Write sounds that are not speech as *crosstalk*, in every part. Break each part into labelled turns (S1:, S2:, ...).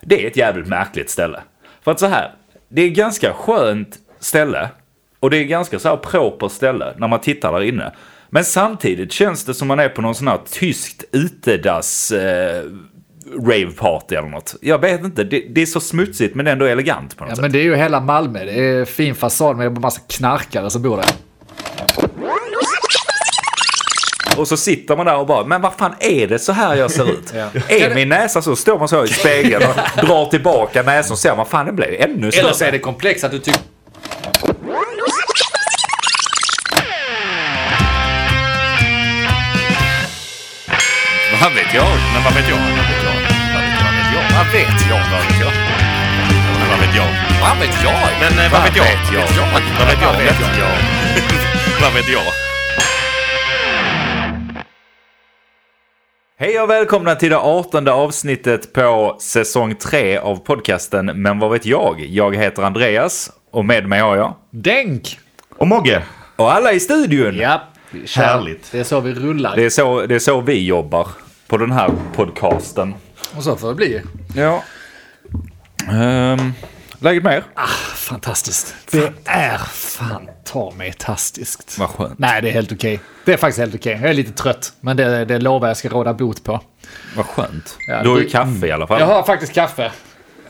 S1: Det är ett jävligt märkligt ställe. För att så här, det är ett ganska skönt ställe och det är ett ganska så här proper ställe när man tittar där inne. Men samtidigt känns det som man är på någon sån här tyskt utedass eh, raveparty eller något. Jag vet inte, det, det är så smutsigt men ändå elegant på något
S2: Ja,
S1: sätt.
S2: men det är ju hela Malmö. Det är fin fasad med en massa knarkare som bor där.
S1: Och så sitter man där och bara, men vad fan är det så här jag ser ut?
S2: *laughs* Ja.
S1: Är min näsa så? Står man så i spegeln
S2: *laughs*
S1: och drar tillbaka näsan och ser man, fan den blev ju ännu
S3: Eller så är
S1: större.
S3: det komplext att du tycker...
S1: Vad vet jag? Men vad vet jag? Vad vet jag? Vad vet jag? Vad vet jag?
S4: Vad vet jag?
S3: Vad vet jag?
S4: Men eh, vad vet jag? Vad vet jag?
S1: Vad vet jag?
S4: Vad vet jag?
S1: Hej och välkomna till det artonde avsnittet på säsong tre av podcasten Men vad vet jag? Jag heter Andreas och med mig har jag.
S2: Denk!
S4: Och Mogge?
S1: Och alla i studion!
S2: Ja, kär-
S4: Härligt.
S2: Det är så vi rullar.
S1: Det, är så, det är så vi jobbar på den här podcasten.
S2: Och så får det bli.
S1: Ja. Ehm, läget med er?
S2: Fantastiskt. Det är fan ta mig fantastiskt.
S1: Vad skönt.
S2: Nej, det är helt okej. Det är faktiskt helt okej. Jag är lite trött, men det, det lovar jag ska råda bot på.
S1: Vad skönt.
S2: Ja,
S1: du har ju
S2: det-
S1: kaffe i alla fall.
S2: Jag har faktiskt kaffe.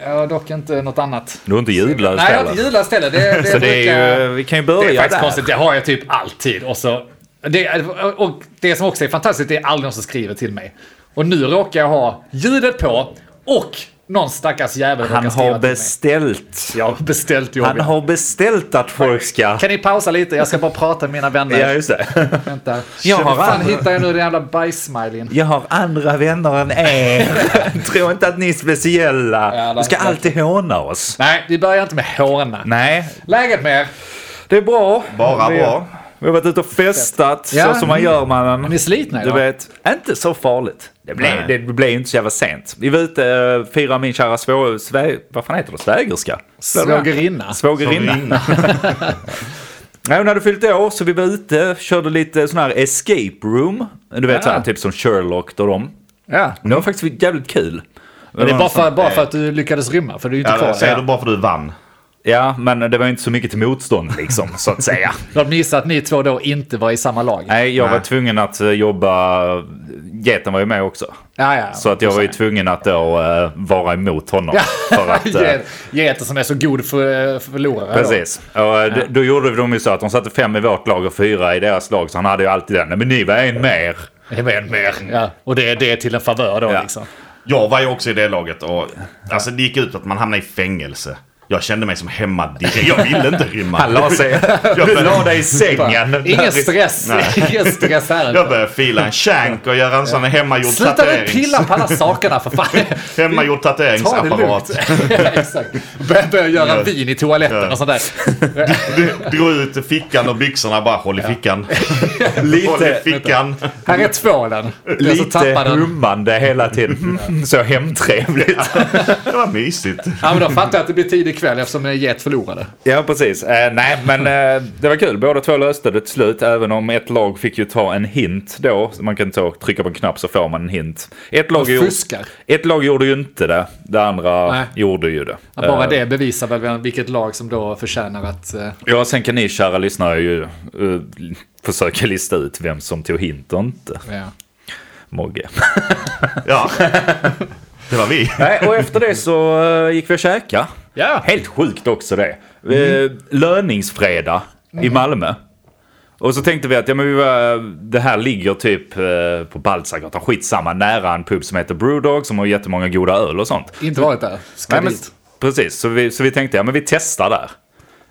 S2: Jag har dock inte något annat.
S1: Du har inte ljudlöst
S2: Nej, jag har inte julas heller. Det, det
S1: Så det
S2: brukar-
S1: är ju, vi kan ju
S2: Det är
S1: börja
S2: faktiskt
S1: där.
S2: konstigt, det har jag typ alltid. Och, så, det, och det som också är fantastiskt, det är aldrig någon som skriver till mig. Och nu råkar jag ha ljudet på och någon stackars jävel
S1: Han
S2: råkar skriva
S1: har
S2: till mig.
S1: beställt.
S2: Jag har beställt jobbet.
S1: Han har beställt att folk ska...
S2: Kan ni pausa lite? Jag ska bara prata med mina vänner.
S1: Ja, just det.
S2: Vänta.
S1: Jag
S2: Jag
S1: har
S2: fan
S1: aldrig-
S2: hittar jag nu den jävla bajs-smileyn?
S1: *laughs* Jag har andra vänner än er.
S2: *laughs*
S1: Tror inte att ni är speciella.
S2: Ja, det
S1: du ska
S2: är klart.
S1: alltid håna oss.
S2: Nej, vi börjar inte med håna.
S1: Nej,
S2: Läget med er?
S1: det är bra.
S4: Bara
S1: vi,
S4: bra.
S1: Vi har varit ute och festat,
S2: Ja.
S1: så som man gör mannen.
S2: Ni är slitna
S1: Du
S2: idag.
S1: vet, inte så farligt. Det blev, det blev ju inte så jävla sent. Vi var ute eh, firade min kära svå, svä, vad fan heter det? svägerska?
S2: Svågerinna.
S1: Svågerinna. Nej, hon hade fyllt år så vi var ute, körde lite sån här escape room. Du vet
S2: Ja.
S1: så här, typ som Sherlock och dem.
S2: Ja.
S1: Det var faktiskt jävligt kul.
S2: Men det är bara för, bara för att du lyckades rymma, för du är ju inte
S4: Ja,
S2: kvar.
S4: det säger du bara för du vann.
S1: Ja, men det var inte så mycket till motstånd liksom, så att säga.
S2: *laughs* De gissar att ni två då inte var i samma lag.
S1: Nej, jag var
S4: Nej.
S1: tvungen att eh, jobba... Geten var ju med också.
S2: Ja, ja.
S1: Så att jag var ju tvungen att då eh, vara emot honom. För *laughs*
S2: *laughs*
S1: att, eh,
S2: Get- Geter som är så god för, förlorare. då.
S1: Precis. Och, eh, d- Då gjorde de ju så att de satte fem i vårt lag och fyra i deras lag, så han hade ju alltid den. "Nej, Men ni var en mer.
S2: Det är en mer. Ja. Och det, är- det är till en favör då
S1: Ja.
S2: liksom.
S4: Jag var ju också i det laget och alltså, det gick ut att man hamnade i fängelse. Jag kände mig som hemma direkt. Jag ville inte rymma.
S1: Han la *laughs* sig... Du la dig i sängen.
S2: Ingen stress. *laughs* Ingen stress här.
S4: Jag började fila en shank och göra en sån hemmagjord
S2: Sluta nu
S4: tatuering.
S2: pilla på alla sakerna
S1: *laughs*
S2: för fan.
S4: Hemmagjord
S2: Ta det
S4: tatueringsapparat.
S2: lugnt. Ja, Exakt. Bör- Börja göra
S4: Ja.
S2: vin i toaletten
S4: Ja.
S2: och sånt där.
S4: Drog ut fickan och byxorna bara håll i fickan. Håll i
S1: Lite,
S4: fickan.
S2: Här är tvålen. Jag så
S1: lite
S2: tappar den.
S1: hummande hela tiden. Mm, *laughs* Så hemtrevligt.
S4: Det var mysigt.
S2: Ja, men då fattar jag att det blir tidig kväll eftersom en get förlorade.
S1: Ja, precis. Eh, nej, men eh, det var kul. Båda två löste det till slut, även om ett lag fick ju ta en hint då. Så Man kan ta och trycka på en knapp så får man en hint. Ett lag,
S2: Och
S1: gjorde,
S2: fuskar.
S1: ett lag gjorde ju inte det. Det andra
S2: Nej.
S1: gjorde ju det.
S2: Att Bara
S1: Eh,
S2: det bevisar väl vem- vilket lag som då förtjänar att... eh,
S1: Ja, sen kan ni kära lyssnare ju eh, försöka lista ut vem som tog hint och inte.
S2: Ja.
S1: Mogge.
S4: Ja. Det var vi.
S1: *laughs* Nej, och efter det så eh, gick vi och käka.
S2: Ja.
S1: Helt sjukt också det. Eh, löningsfredag i Malmö. Och så tänkte vi att ja, men vi var, det här ligger typ eh, på Baltzargatan, skitsamma, nära en pub som heter Brewdog som har jättemånga goda öl och sånt.
S2: Inte varit där. Ska
S1: Nej, men,
S2: dit.
S1: precis, så vi, så vi tänkte ja, men vi testar där.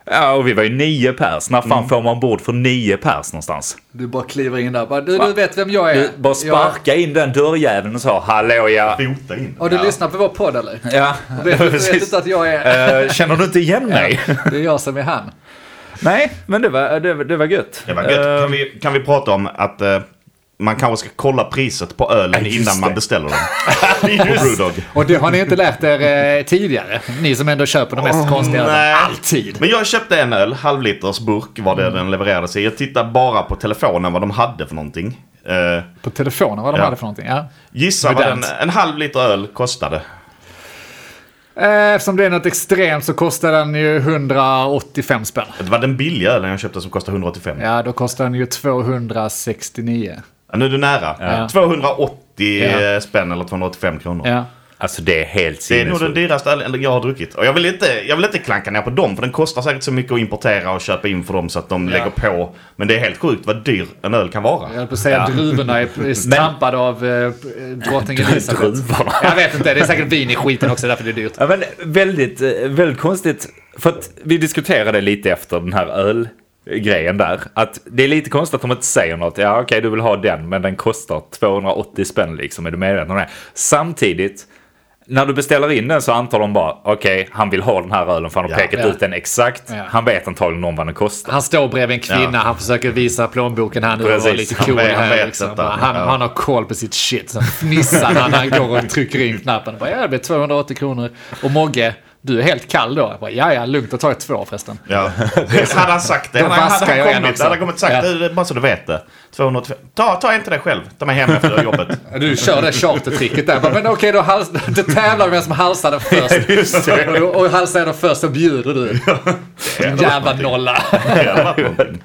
S1: Ja, och vi var ju nio pers. När fan får man bord för nio pers någonstans?
S2: Du bara kliver in där. Bara, du, du vet vem jag är.
S1: Du, bara
S2: jag,
S1: sparka in den dörrjäveln och sa hallå ja.
S4: Fota in.
S2: har du lyssnat på vår podd eller?
S1: *laughs* Ja,
S2: Vet, du- vet
S1: precis.
S2: inte att jag är...
S1: Eh, Känner du inte igen mig?
S2: Det är jag som är han.
S1: *laughs* Nej, men det var, det, var- det var gött.
S4: Det var gött.
S1: Eh,
S4: Kan vi, kan vi prata om att eh, man kanske ska kolla priset på ölen
S1: Ja, just
S4: innan
S1: det.
S4: man beställer den? på Brewdog.
S2: Och det har ni inte lärt er eh, tidigare. Ni som ändå köper de mest konstiga ölen.
S4: nej.
S2: Alltid.
S4: Men jag köpte en öl, halvliters burk var det den levererades i. Jag tittade bara på telefonen vad de hade för någonting. Eh,
S2: På telefonen vad de
S4: Ja.
S2: hade för någonting. Ja.
S4: gissa vad en,
S2: Modernt.
S4: en halv liter öl kostade.
S2: Eh, Eftersom det är något extremt så kostar den ju 185 spänn.
S4: Det var den billiga ölen jag köpte som kostade 185.
S2: Ja, då kostar den ju 269.
S4: Ja, Nu är du nära. 280
S2: Ja.
S4: spänn eller 285 kronor.
S2: Ja.
S1: Alltså det är helt
S4: Det är nog den
S1: sinnessjukt.
S4: dyraste ölen jag har druckit. Och jag vill, inte, jag vill inte klanka ner på dem, för den kostar säkert så mycket att importera och köpa in för dem så att de lägger på. Men det är helt sjukt vad dyr en öl kan vara.
S2: Jag höll på att säga att druvorna är är trampade av eh, drottning
S1: *laughs*
S2: Elisabeth.
S1: Druvorna.
S2: Jag vet inte, det är säkert vin i skiten också, därför det är dyrt.
S1: Ja, men väldigt, eh, väldigt konstigt. För att vi diskuterade lite efter den här ölgrejen där. Att det är lite konstigt att de inte säger något. Ja, okej, du vill ha den, men den kostar 280 spänn liksom. Är du medveten om det? Samtidigt, när du beställer in den så antar de bara, okej, han vill ha den här ölen för han har
S4: Ja.
S1: pekat
S2: Ja.
S1: ut den exakt.
S2: Ja.
S1: Han vet antagligen om vad den kostar.
S2: Han står bredvid en kvinna,
S4: Ja.
S2: han försöker visa plånboken här nu och vara
S1: Precis,
S2: lite
S4: han
S2: cool.
S4: vet- han
S2: här,
S4: vet
S2: liksom.
S4: detta.
S2: Bara, han,
S4: Ja.
S2: han har koll på sitt shit. Sen fnissar han när han går och trycker in knappen. Bara, ja, det blir 280 kronor. Och Mogge, du är helt kall då. Jag Bara, ja, ja, lugnt. Då tar jag två förresten.
S4: Ja.
S2: *laughs*
S4: hade han sagt det,
S2: Då
S4: hade han
S2: vaskar jag en
S4: kommit,
S2: också.
S4: hade han kommit och sagt
S2: Ja.
S4: det, det, är bara så du vet det. 205. Ta, ta inte det själv, ta mig hem
S2: *laughs*
S4: efter jobbet.
S2: Du kör det chartertricket där. Bara, Men okej, då, hals- *laughs* då tävlar vi vem som halsar den
S4: *laughs*
S2: först. och, och halsar jag den först så bjuder du. Jävla nolla.
S4: Det hade varit någonting.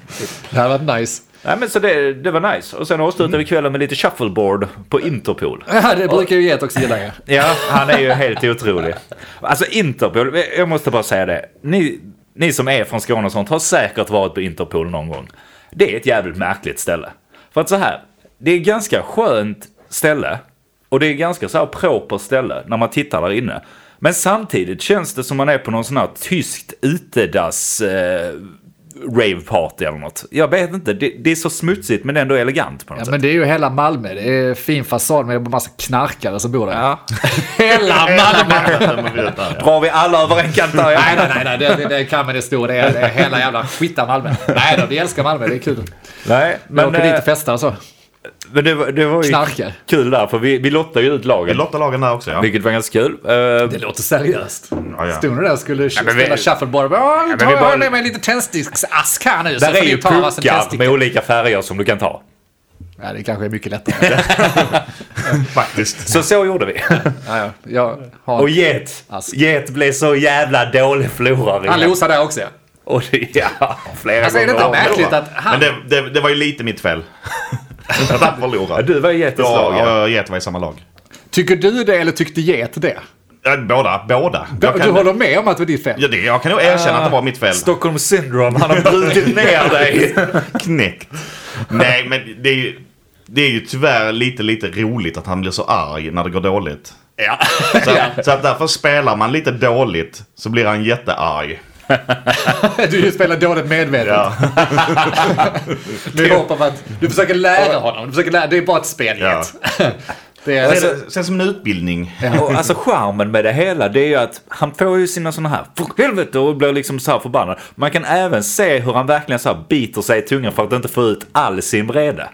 S2: Det här var nice.
S1: Nej, men så det, det var nice. Och sen avslutade
S2: Mm.
S1: vi kvällen med lite shuffleboard på Interpol.
S2: Ja, det brukar ju get också gilla. ja.
S1: Ja, han är ju helt otrolig. Alltså Interpol, jag måste bara säga det. Ni, ni som är från Skåne och sånt har säkert varit på Interpol någon gång. Det är ett jävligt märkligt ställe. För att så här, det är ganska skönt ställe och det är ganska så här proper ställe när man tittar där inne. Men samtidigt känns det som man är på någon sån här tyskt utedass eh, raveparty eller något. Jag vet inte, det, det är så smutsigt men ändå elegant på något
S2: Ja,
S1: sätt.
S2: men det är ju hela Malmö. Det är fin fasad med en massa knarkare som bor där.
S1: Ja.
S2: *laughs* Hela Malmö!
S1: Drar vi alla över en kant där?
S2: Nej, nej, nej, nej, det, det, det kan man det stor. Det är, det är hela jävla skita Malmö. Nej då, vi älskar Malmö, det är kul.
S1: nej
S2: Vi åker dit
S1: eh,
S2: och festar och så.
S1: Men det, var- det var ju
S2: Knarkar.
S1: kul där, för vi, vi lottade ju ut
S4: Vi
S1: lagen.
S4: lottar lagen där också ja.
S1: Vilket var ganska kul. Eh,
S2: Det låter seriöst.
S4: ja, ja.
S2: Stod ni där och skulle
S1: men vi-
S2: spela shuffleboard? Ja, vi
S1: men
S2: tar
S1: vi bara-
S2: jag med mig lite tändsticksask här nu. så
S1: där
S2: får
S1: är
S2: ni
S1: ju
S2: ta varsin
S1: punkar
S2: tändstick.
S1: med olika färger som du kan ta.
S2: Ja, det kanske är mycket lättare.
S4: Faktiskt.
S1: Så så gjorde
S2: *laughs*
S1: vi.
S2: Ja, ja. Jag har...
S1: Och Get,
S2: Ask.
S1: Get blev så jävla dålig förlorare.
S2: Han losar där också ja.
S1: Och det, ja, flera
S2: Alltså, är det
S1: gånger
S2: inte
S1: om.
S2: märkligt? Roligt att han-
S4: Men det, det, det var ju lite
S2: *laughs*
S4: mitt fel. Att han
S1: Ja,
S4: förlorade.
S1: Du var ju Get i
S4: Jag
S1: slaget.
S4: och Get var i samma lag.
S2: Tycker du det eller tyckte get det?
S4: Ja, Båda, båda. Jag
S2: Du
S4: kan,
S2: håller med om att det var ditt fel?
S4: ja, det, jag kan nog erkänna att det var mitt fel.
S1: Stockholm syndrome, han har brutit ner dig.
S4: Knäckt. Nej, men det är, ju, det är ju tyvärr lite, lite roligt att han blir så arg när det går dåligt.
S1: Ja.
S2: *laughs*
S4: Så, så att därför spelar man lite dåligt så blir han jättearg.
S2: *laughs* Du spelar dåligt medvetet. *laughs*
S4: Ja.
S2: Du hoppar på att du försöker lära honom. Du försöker lära, det är bara ett spel.
S4: Ja.
S2: Jet. *laughs* Det är,
S1: Alltså-
S4: Sen, sen som en utbildning.
S1: Och alltså charmen med det hela det är ju att han får ju sina sådana här för helvete och blir liksom så här förbannad. Man kan även se hur han verkligen så här biter sig i tungan för att inte få ut all sin vrede.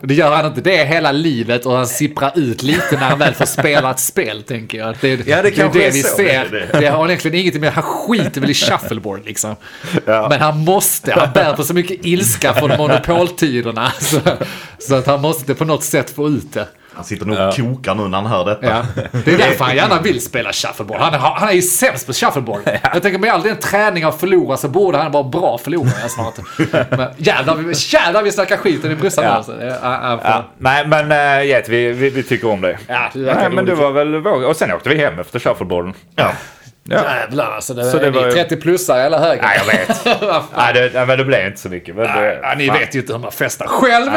S2: det gör han inte. Det är hela livet och han sipprar ut lite när han väl får spela ett spel, tänker jag. Det är
S1: det
S2: är
S1: kanske
S2: det
S1: är
S2: vi
S1: så.
S2: ser. Det,
S4: Det-
S2: har egentligen ingenting med... Han skiter väl i shuffleboard, liksom. Men han måste. Han bär på så mycket
S1: *laughs*
S2: ilska från monopoltiderna. Så, så att han måste på något sätt få ut det.
S4: Han sitter nog och kokar nu när han hör detta.
S2: Ja. *laughs* Det är därför han gärna vill spela shuffleboard. Han, har- han är ju sämst
S1: *laughs*
S2: på shuffleboard. Jag tänker med all den träning han förlorar så borde han vara bra
S1: *laughs*
S2: förlorare snart. Men jävlar, vi- jävlar vi snackar skiten i brorsan
S1: Ja.
S2: alltså. Det- ja, ja, fan.
S1: Ja, nej, men äh, Get, vi, vi, vi tycker om det.
S2: Ja, det verkar
S1: nej, men det
S2: roligt.
S1: var väl vår... Och sen åkte vi hem efter shuffleboarden.
S4: Ja.
S1: Ja.
S2: Jävlar alltså. Det,
S1: Så det
S2: ni
S1: var ju-
S2: 30 plussar eller högre.
S1: Nej, jag
S2: *laughs*
S1: vet. nej, det, nej, men det blev inte så mycket. Men det,
S2: Ja, ni
S1: fan.
S2: vet ju inte hur man festar själv.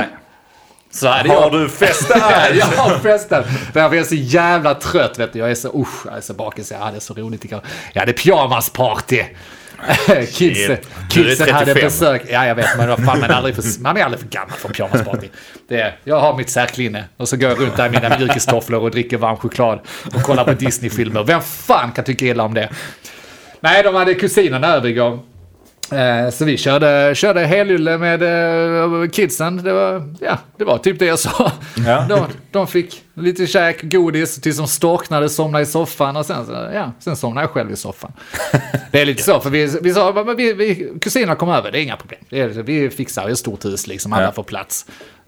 S2: Så hade
S1: Har
S2: jag...
S1: du festat?
S2: *laughs* Ja, jag har festat. Därför är jag så jävla trött. Vet du. Jag är så usch, jag är så bakis. Jag hade så roligt igår. Jag hade pyjamasparty. Kids,
S4: Shit.
S2: kidsen
S1: Du är
S2: hade
S1: 35.
S2: besök. Ja, jag vet. Men vad fan, man, är aldrig för, man är aldrig för gammal för pyjamasparty. Det är, jag har mitt särklinne och så går jag runt där i mina mjukistofflor och dricker varm choklad och kollar på Disney-filmer. Vem fan kan tycka illa om det? Nej, de hade kusinerna över igår. Eh, Så vi körde, körde helylle med eh, kidsen. Det var, ja, det var typ det jag sa.
S1: Ja.
S2: *laughs* De, de fick lite käk, godis, tills de storknade, somnade i soffan och sen, så- ja, sen somnade jag själv i soffan. Det är lite så, för vi, vi sa att vi, vi, kusinerna kom över, det är inga problem. Det är, vi fixar ett stort hus, liksom, alla
S1: Ja.
S2: får plats.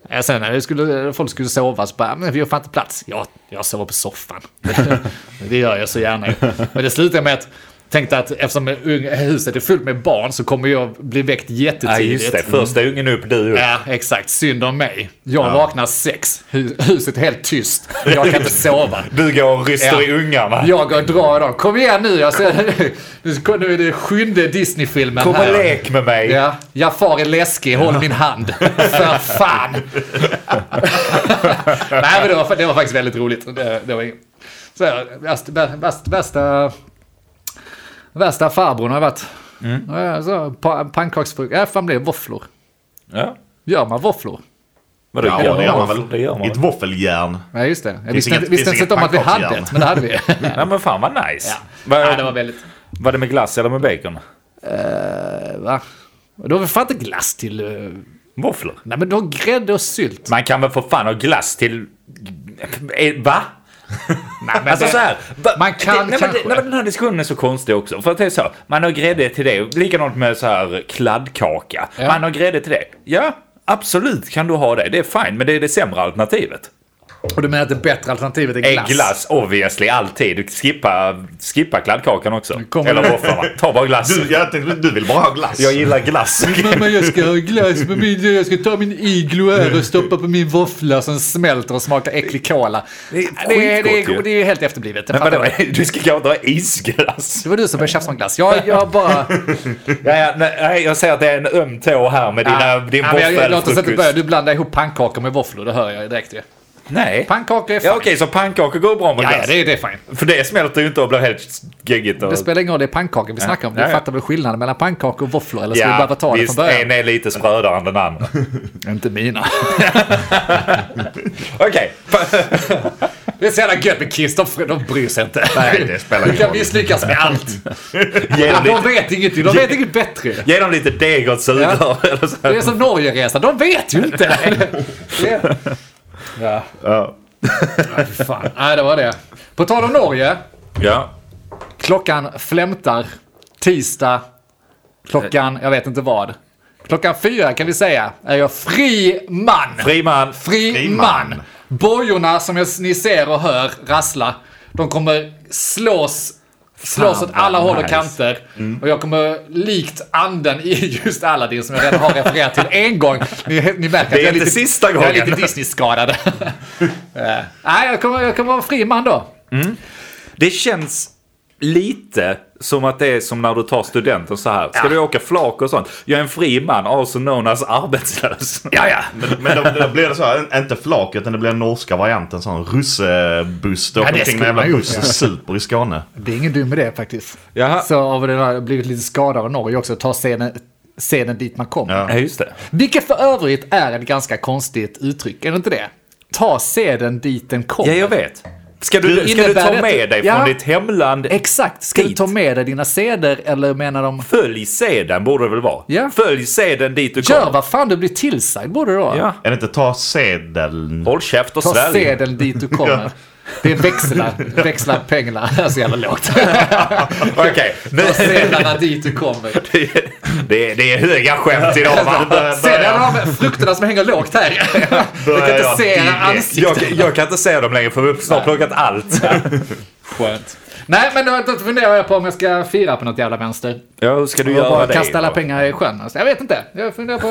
S2: Eh, Eh, Sen när det skulle, folk skulle sova så bara, men vi har fan inte plats. Ja, jag sover på soffan. *laughs* det gör jag så gärna ju. Men det slutade med att Tänkte att eftersom ung- huset är fullt med barn så kommer jag bli väckt
S1: Ja,
S2: jättetidigt.
S1: just det. Första ungen upp, du upp.
S2: Ja, exakt. Synd om mig. Jag vaknar sex, hu- huset är helt tyst. Jag kan inte sova.
S1: Du går och ryster
S2: Ja.
S1: i ungarna.
S2: Jag går och drar dem. Kom igen nu! Jag ser, nu- nu är det sjunde Disney-filmen
S1: Kom och
S2: här.
S1: lek med mig.
S2: Ja, Jafar är läskig, håll min hand. För fan! Nej, men det var, det var faktiskt väldigt roligt. Det, det var ing- så, värst, värst, värsta, värsta farbrorn har varit. Mm. Så, pa, pannkaksfru. Ja, fan blev våfflor.
S1: Ja.
S2: Gör man våfflor?
S1: Vadå,
S4: Ja, det gör man väl.
S1: Det gör man
S4: I ett
S1: väl.
S4: våffeljärn.
S2: Ja, just det. Jag visste
S4: inget-
S2: inte- visste
S4: finns
S2: inte
S4: inget
S2: om att vi hade
S4: pannkaksjärn.
S2: ett, men det
S4: *laughs*
S2: hade vi.
S1: Nej men fan vad nice.
S2: Ja.
S1: Var,
S2: Ja, det var väldigt...
S1: var det med glass eller med bacon?
S2: Uh, va? Du har väl fan inte glass till... eh,
S1: Våfflor?
S2: nej, men du har grädde och sylt.
S1: Man kan väl för fan ha glass till... Eh, Va?
S2: Nej, men
S1: Alltså
S2: det-
S1: så här, va-
S2: man kan
S1: det, nej, men, det,
S2: kanske.
S1: nej, men den här diskussionen är så konstig också. För att det är så, man har grädde till det. Likadant med så här kladdkaka.
S2: Ja.
S1: Man har grädde till det. Ja, absolut kan du ha det. Det är fint, men det är det sämre alternativet.
S2: Och du menar att det bättre alternativet är glass?
S1: Glass. glass obviously, alltid. Skippa, skippa kladdkakan också.
S2: kommer-
S1: Eller våfflorna. Ta bara glassen.
S4: Du, jag tänkte, du vill bara ha glass.
S1: Jag gillar glass. *laughs*
S2: Mamma, jag ska ha glass med min, jag ska ta min iglo här och stoppa på min våffla som smälter och smakar äcklig cola. Det
S1: är
S2: det,
S1: skitgott ju.
S2: det, det är ju helt efterblivet. Det,
S1: Men
S2: fattar
S1: vadå,
S2: jag.
S1: du ska kanske inte ha isglass?
S2: det var du som började tjafsa om glass. Jag,
S1: *laughs*
S2: jag bara...
S1: Ja, ja, nej, jag ser att det är en öm tå här med dina,
S2: Ja,
S1: din
S2: ja, men jag- Låt oss inte börja.
S1: våffelfrukost.
S2: Du blandar ihop pannkakor med våfflor, det hör jag direkt ju.
S1: Nej.
S2: Pannkakor är fine.
S1: Ja, okej, så pannkakor går bra med
S2: ja,
S1: glass?
S2: ja, det, är- det är fine.
S1: För det smälter ju inte och blir helt geggigt. Och...
S2: Det spelar ingen roll, det är pannkakor vi snackar om. Du
S1: Ja, ja.
S2: fattar väl skillnaden mellan pannkakor och våfflor? Eller ska vi behöva ta det
S1: visst,
S2: från början?
S1: en är lite sprödare än den
S2: *laughs*
S1: andra.
S2: Inte mina.
S1: Okej,
S2: *laughs* Det är så jävla gött med Kiss, de, de bryr sig inte.
S4: Nej, det spelar
S2: Du
S4: ingen
S2: kan
S4: roll.
S2: misslyckas med allt.
S1: *laughs* ge, dem
S2: De
S1: lite,
S2: vet ingenting, de vet inget bättre.
S1: ge dem lite deg och sugrör. *laughs* eller så här.
S2: Det är som Norgeresan, de vet ju inte. *laughs* Det- Ja,
S4: Ja.
S2: fan. Nej, det var det. På tal om Norge,
S1: Ja.
S2: klockan flämtar tisdag, klockan, jag vet inte vad. Klockan fyra kan vi säga är jag fri man.
S1: Friman.
S2: Fri
S4: Fri
S2: man.
S4: man.
S2: Bojorna som jag, ni ser och hör rassla, de kommer slås, slås
S1: Fan,
S2: åt alla
S1: vad
S2: håll och
S1: nice. Mm.
S2: kanter. Och jag kommer likt anden i just Aladdin som jag redan har refererat till en gång. Ni, ni märker att
S1: Det är
S2: jag
S1: inte
S2: lite,
S1: sista
S2: Jag är
S1: gången. *laughs*
S2: lite Disney-skadad. Eh, Nej, jag kommer, jag kommer vara fri man då.
S1: Det känns lite som att det är som när du tar studenten så här. Ska du åka flak och sånt? Jag är en fri man, also known as arbetslös.
S2: Ja, ja.
S4: Men, men då, då blir det så här, inte flak utan det blir den norska varianten. Sån russebuss. Det
S2: Ja,
S4: åker
S2: det
S4: omkring
S2: skulle
S4: med en
S2: man
S4: jävla
S2: gjort,
S4: buss
S2: ja.
S4: och super i Skåne.
S2: Det är ingen dum idé faktiskt.
S1: Jaha.
S2: Så av det där blivit lite skadad av Norge också, ta scenen, scenen dit man kommer.
S4: Ja.
S1: Ja, just det.
S2: Vilket för övrigt är ett ganska konstigt uttryck, är det inte det? Ta seden dit den kommer.
S1: Ja, jag vet. Ska du, ska
S2: Innebär
S1: du ta
S2: det att-
S1: med dig
S2: Ja.
S1: från ditt hemland?
S2: Exakt, ska du
S1: Dit.
S2: ta med dig dina seder eller menar de...
S1: Följ seden borde det väl vara?
S2: Ja.
S1: Följ seden dit du
S2: Gör
S1: kommer.
S2: vad fan du blir tillsagd borde du då.
S1: Ja.
S4: Är det inte ta sedeln?
S1: Håll käft och
S2: Ta
S1: svälj.
S2: seden dit du kommer. Det är växla, växla pengarna. Det är så jävla lågt.
S1: *laughs* Okej, nu-
S2: *laughs* Ta sedlarna dit du kommer.
S1: *laughs* det, är- det är höga skämt idag va?
S2: Sedlarna, de frukterna som hänger
S1: *laughs*
S2: lågt här. Du kan inte
S4: jag
S2: se era
S4: direkt.
S2: ansikten.
S1: Jag, jag kan inte se dem längre för vi har snart plockat allt.
S2: Skönt. Nej, men då, då funderar jag på om jag ska fira på något jävla vänster.
S1: Ja, hur ska du
S2: Jag
S1: göra
S2: bara
S1: det?
S2: kasta alla pengar i sjön. Alltså, jag vet inte. Jag funderar på...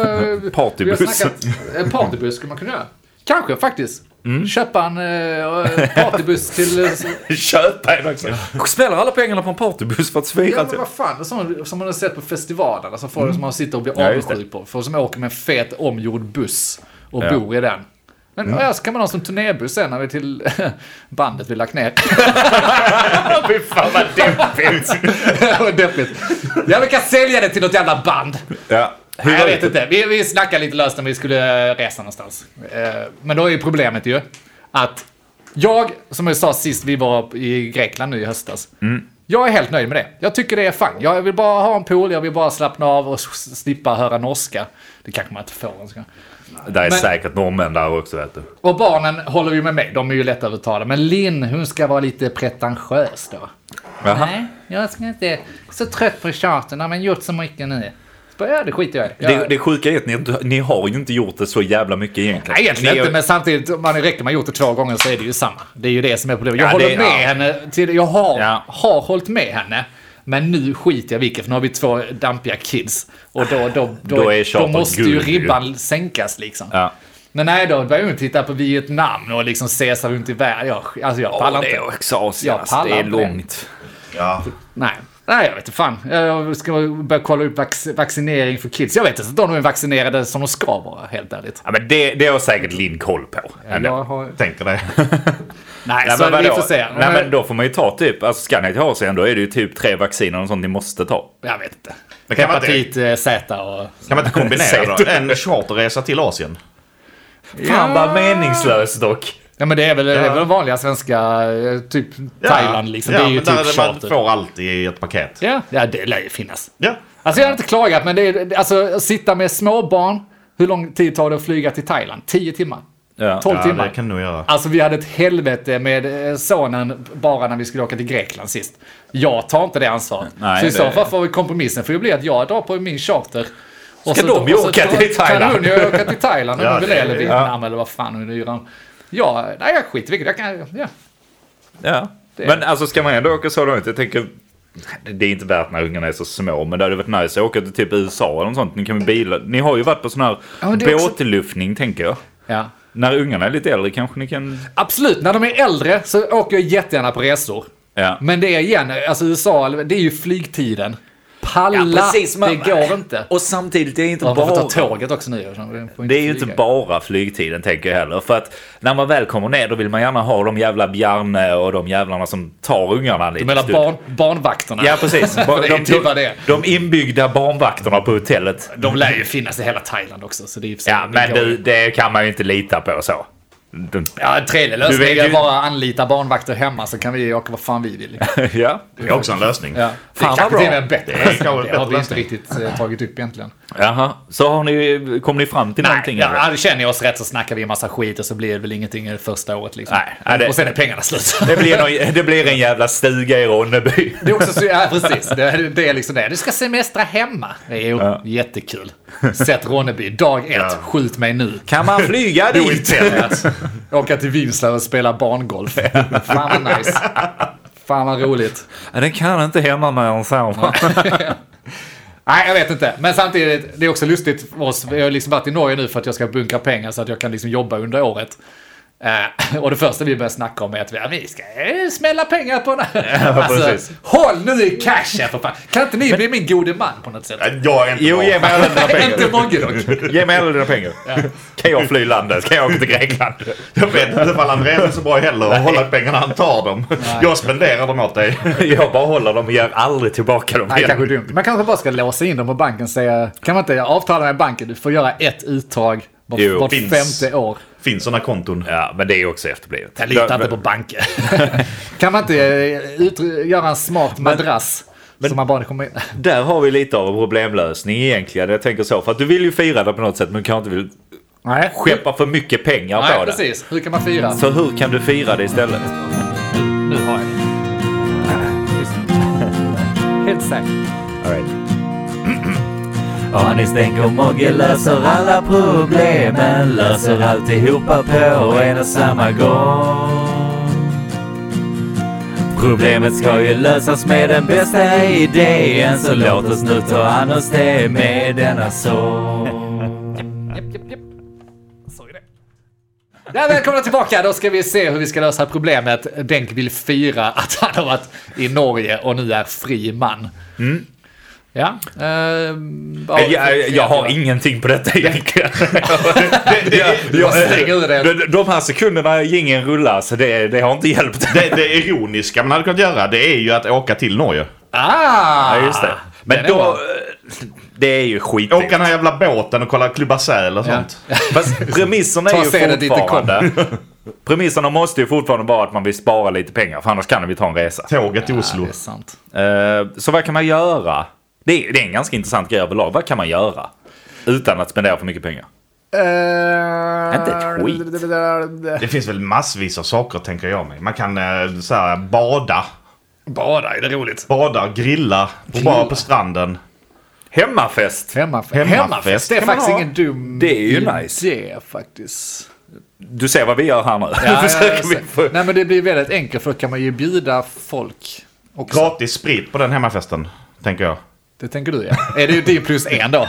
S2: eh,
S1: Partybuss.
S2: vi har snackat- eh, Partybuss skulle man kunna göra. Kanske faktiskt.
S1: Mm.
S2: Köpa en eh, partybuss
S1: *laughs*
S2: till... eh, så-
S1: Köpa en också. Smäller alla pengarna på en partybuss för att fira?
S2: Ja,
S1: typ?
S2: men vad fan, det är sån, som man har sett på festivalerna, som folk som man sitter och blir
S1: Mm. Ja, just det.
S2: avundsjuk på. Folk som åker med en fet omgjord buss och
S1: Ja. Mm.
S2: bor i den. Men ja, så kan man ha som turnébuss sen när vi till *laughs* bandet vi lagt ner.
S1: Fy fan vad deppigt.
S2: *laughs* Vad deppigt. Ja, vi kan sälja det till något jävla band.
S1: Ja,
S2: Nej,
S1: hyra
S2: jag
S1: ut
S2: vet
S1: ett-
S2: inte. Vi, vi snackade lite löst om vi skulle eh, resa någonstans. Eh, Men då är ju problemet ju att jag, som jag sa sist vi var i Grekland nu i höstas,
S1: Mm.
S2: jag är helt nöjd med det. Jag tycker det är fun. Jag vill bara ha en pool, jag vill bara slappna av och s- slippa höra norska. Det kanske man inte får. ens.
S1: Det är
S2: Men-
S1: säkert norrmän där också vet du.
S2: Och barnen håller ju med mig, de är ju lättövertalade. Men Linn, hon ska vara lite pretentiös då.
S1: Jaha.
S2: Nej, jag ska inte. Så trött på tjaten. Har man gjort så mycket nu? Bara, Ja, det skiter jag i. Jag,
S1: Det, det sjuka är att ni, inte- ni har ju inte gjort det så jävla mycket egentligen.
S2: Nej, egentligen
S1: Ni-
S2: inte, men samtidigt, om man räcker man gjort det två gånger så är det ju samma. Det är ju det som är problemet. Jag
S1: Ja,
S2: håller
S1: det-
S2: med
S1: ja.
S2: henne, till, jag har,
S1: Ja.
S2: har hållit med henne, men nu skiter jag i vilket, för nu har vi två dampiga kids. Och då, då, då,
S1: Då är
S2: då,
S1: tjatet
S2: måste ju
S1: guld ju.
S2: ribban sänkas liksom.
S1: Ja.
S2: Men nej, då börjar hon titta på Vietnam och liksom Caesar runt i världen. Jag, alltså jag pallar
S1: Åh, det
S2: inte.
S1: är också Asien.
S2: Jag
S1: Alltså, det
S2: pallar
S1: är
S2: inte.
S1: långt.
S4: Ja.
S2: Nej. Nej, jag vet inte fan. Jag ska börja kolla upp vax, vaccinering för kids. Jag vet inte, de är vaccinerade som de ska vara, helt ärligt.
S1: Ja, men det, det har säkert Linn koll på. ändå.
S2: Jag har...
S4: Tänker det.
S2: Nej,
S1: Nej, men
S2: så Alltså, vi
S1: vadå?
S2: får se.
S1: Nej, men då får man ju ta typ, alltså ska ni till Asien då är det ju typ tre vacciner och sånt ni måste ta.
S2: Jag vet inte.
S4: Det kan vara
S2: Hepatit eh, Z och...
S4: Kan man inte kombinera
S1: Säg
S4: då? En charterresa till Asien.
S1: Fan vad meningslöst dock.
S2: Ja men det är väl, det är
S4: Ja.
S2: väl vanliga svenska, eh, typ Thailand liksom.
S4: Ja,
S2: det är ju
S4: men
S2: typ
S4: där man
S2: charter.
S4: får allt i ett paket.
S2: Ja, ja, det lär ju finnas.
S4: Ja.
S2: Alltså jag har inte klagat, men det är, alltså att sitta med småbarn, hur lång tid tar det att flyga till Thailand? 10 timmar?
S1: Ja.
S2: 12
S4: Ja,
S2: timmar?
S4: det kan du nog göra.
S2: Alltså vi hade ett helvete med eh, sonen bara när vi skulle åka till Grekland sist. Jag tar inte det ansvaret.
S1: Nej,
S2: så i
S1: det-
S2: så fall får vi kompromissen får ju bli att jag drar på min charter. Och
S1: Ska de ju
S2: och så
S1: åka
S2: drar-
S1: till Thailand?
S2: Kan hon ju åka till Thailand om
S4: Ja,
S2: hon vill
S4: det-
S2: det, eller
S4: ja.
S2: Vietnam eller vad fan hon nu gör. Ja, nej jag skiter i vilket. Jag kan, ja.
S1: Ja.
S2: Det-
S1: Men alltså ska man ändå åka så långt? Jag tänker, det är inte värt när ungarna är så små, men det hade varit nice att åka till typ USA eller något sånt. Ni kan ju bila. Ni har ju varit på sån här
S2: Ja, men det är också-
S1: båtluftning tänker jag.
S2: ja.
S1: När ungarna är lite äldre kanske ni kan...
S2: Absolut, när de är äldre så åker jag jättegärna på resor.
S1: Ja.
S2: Men det är igen, alltså USA, det är ju flygtiden. Palla, det går inte.
S1: Och samtidigt, det är inte
S2: Man får
S1: bara...
S2: ta tåget också nu. jag får
S1: Det är ju inte
S2: flyga.
S1: bara flygtiden tänker jag heller. För att när man väl kommer ner då vill man gärna ha de jävla Bjarne och de jävlarna som tar ungarna lite
S2: Du menar barn, barnvakterna?
S1: Ja precis. Ba-
S2: Det är
S1: De,
S2: typ vad det
S1: de,
S2: är.
S1: de inbyggda barnvakterna på hotellet.
S2: De lär ju finnas i hela Thailand också. Så det är ju för sig-
S1: Ja
S2: det
S1: men
S2: går ju.
S1: du, det kan man ju inte lita på så. De-
S2: Ja, en tredje
S1: Du
S2: lösning
S1: vet
S2: är
S1: ju-
S2: att bara anlita barnvakter hemma så kan vi åka vad fan vi vill.
S1: *laughs* Ja.
S4: Det är också en lösning.
S2: Ja.
S1: vad
S2: Fan, det kanske
S1: bra.
S2: till och med är bättre.
S4: Det är kanske en
S2: Det,
S4: bättre
S2: har vi inte
S4: lösning.
S2: riktigt eh, tagit upp egentligen.
S1: Jaha. Så har ni, kom ni fram till någonting? eller?
S2: ja, känner jag oss rätt så snackar vi en massa skit och så blir det väl ingenting det första året. Liksom.
S1: Nej, nej, det-
S2: Och sen är pengarna slut.
S1: Det, blir någon, det blir en jävla stuga i Ronneby.
S2: *laughs* Det är också så, ja precis. Det, är- det är liksom det. Du ska semestra hemma. Det är ju jättekul. Sätt Ronneby, dag ett,
S4: Ja.
S2: skjut mig nu.
S1: Kan man *laughs* flyga
S4: Do
S1: dit?
S4: it.
S2: alltså Åka till Vinslöv och spela barngolf. Fan vad nice. Fan vad roligt.
S1: Ja, Den kan inte hemma med en sån.
S2: Nej, jag vet inte. Men samtidigt, det är också lustigt för oss. Jag har liksom varit i Norge nu för att jag ska bunkra pengar så att jag kan liksom jobba under året. Eh, och det första vi börjar snacka om är att vi, ja, vi ska eh, smälla pengar på den här. alltså,
S1: precis.
S2: håll nu i cashen för fan. Kan inte ni bli min gode man på något sätt?
S4: Jag är inte
S1: Jo,
S4: bra.
S1: ge mig alla dina
S2: *laughs* inte
S1: pengar.
S2: Mogge dock.
S1: Ge mig alla dina pengar. Kan jag fly landet? Kan jag åka till Grekland?
S4: Jag vet inte ifall Andreas är så bra heller att hålla pengarna. Han tar dem. Jag spenderar dem åt dig.
S1: Jag bara håller dem och ger aldrig tillbaka dem
S2: Nej, kanske dumt. Man kanske bara ska låsa in dem på banken och säga, kan man inte avtala med banken, du får göra ett uttag vart,
S1: Jo,
S2: vart
S4: finns.
S2: femte år.
S4: Finns sådana konton?
S1: Ja, men det är ju också efterblivet.
S2: Jag litar inte på banken. *laughs* kan man inte eh, ut, göra en smart madrass? som man bara kommer in.
S1: Där har vi lite av en problemlösning egentligen. Jag tänker så, för att du vill ju fira det på något sätt, men du kanske inte vill
S2: Nej,
S1: skeppa för mycket pengar
S2: Nej,
S1: på det.
S2: precis. Hur kan man fira?
S1: Så hur kan du fira det istället?
S2: Nu har jag
S1: *laughs*
S2: det. Helt säkert.
S1: All right.
S3: Anis Denk och Mogge löser alla problemen Löser alltihopa på en och samma gång Problemet ska ju lösas med den bästa idén Så låt oss nu ta an oss det med denna sång
S2: Japp, japp, japp. Så är det. Ja, välkomna tillbaka! Då ska vi se hur vi ska lösa problemet. Denk vill fira att han har varit i Norge och nu är fri man. Ja. eh, ehm, vad
S1: Jag,
S2: har vi för
S1: Mm. jag, jag har
S2: kreativa-
S1: ingenting på detta egentligen. jag,
S2: Jag slänger ur det.
S1: de, de här sekunderna gingen rullar, så det, det har inte hjälpt.
S4: Det, det ironiska man hade kunnat göra det är ju att åka till Norge.
S2: Ah!
S1: Ja, just det. Men
S2: Den är
S1: då...
S2: bra.
S1: Det är ju skit.
S4: Åka den här jävla båten och kolla klubba säl och sånt.
S2: *laughs*
S1: Fast premisserna
S2: Ta
S1: är ju
S2: sedet dit det
S1: fortfarande... *laughs* Premisserna måste ju fortfarande vara att man vill spara lite pengar, för annars kan vi ta en resa.
S4: Tåget till
S2: Ja,
S4: Oslo.
S2: det är sant.
S1: Eh, Så vad kan man göra? Det är, det är en ganska intressant grej överlag. Vad kan man göra? Utan att spendera för mycket pengar. Inte ett
S2: skit.
S4: Det finns väl massvis av saker tänker jag mig. Man kan eh, så här, bada.
S2: Bada, är det roligt?
S4: Bada, grilla, på, bara på stranden.
S1: Hemmafest!
S2: Hemmafest.
S4: Hemmafest
S2: Det är
S4: kan man
S2: faktiskt
S4: ha.
S2: ingen dum
S1: Det är ju
S2: idé,
S1: nice.
S2: faktiskt.
S1: Du ser vad vi gör här nu. *laughs*
S2: Ja,
S1: Försöker
S2: ja,
S1: vi
S2: jag
S1: få-
S2: ser. Nej men det blir väldigt enkelt för då kan man ju bjuda folk också.
S4: Gratis sprit på den hemmafesten, tänker jag.
S2: Det tänker du ja. Är det ju din plus
S1: *laughs*
S2: en då?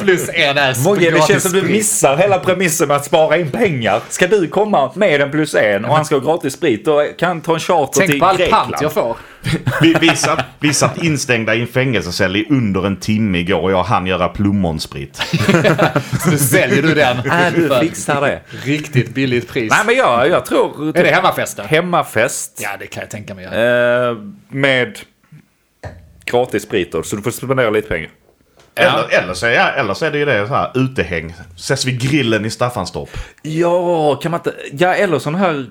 S2: plus en är
S1: Mogge, det
S2: gratis
S1: känns som du
S2: sprit.
S1: missar hela premissen med att spara in pengar. Ska du komma med en plus en och han ska ha gratis sprit, då kan han ta en charter
S2: Tänk
S1: till
S2: på all
S1: Grekland.
S2: pant jag får.
S4: Vi, vi, satt, vi satt instängda i en fängelsecell i under en timme igår och jag hann göra plommonsprit.
S2: Så nu säljer du den.
S1: *laughs* Nej, du
S2: för
S1: fixar det.
S2: Riktigt billigt pris.
S1: Nej, men jag, jag tror...
S2: Är det hemmafesten?
S1: Hemmafest
S2: Ja det kan jag tänka mig. Ja.
S1: eh, med gratis sprit då, så du får spendera lite pengar.
S4: Eller, eller, så, är- eller så är det ju det så här, utehäng. Ses vid grillen i Staffanstorp.
S1: Ja, kan man inte... Ja, eller sån här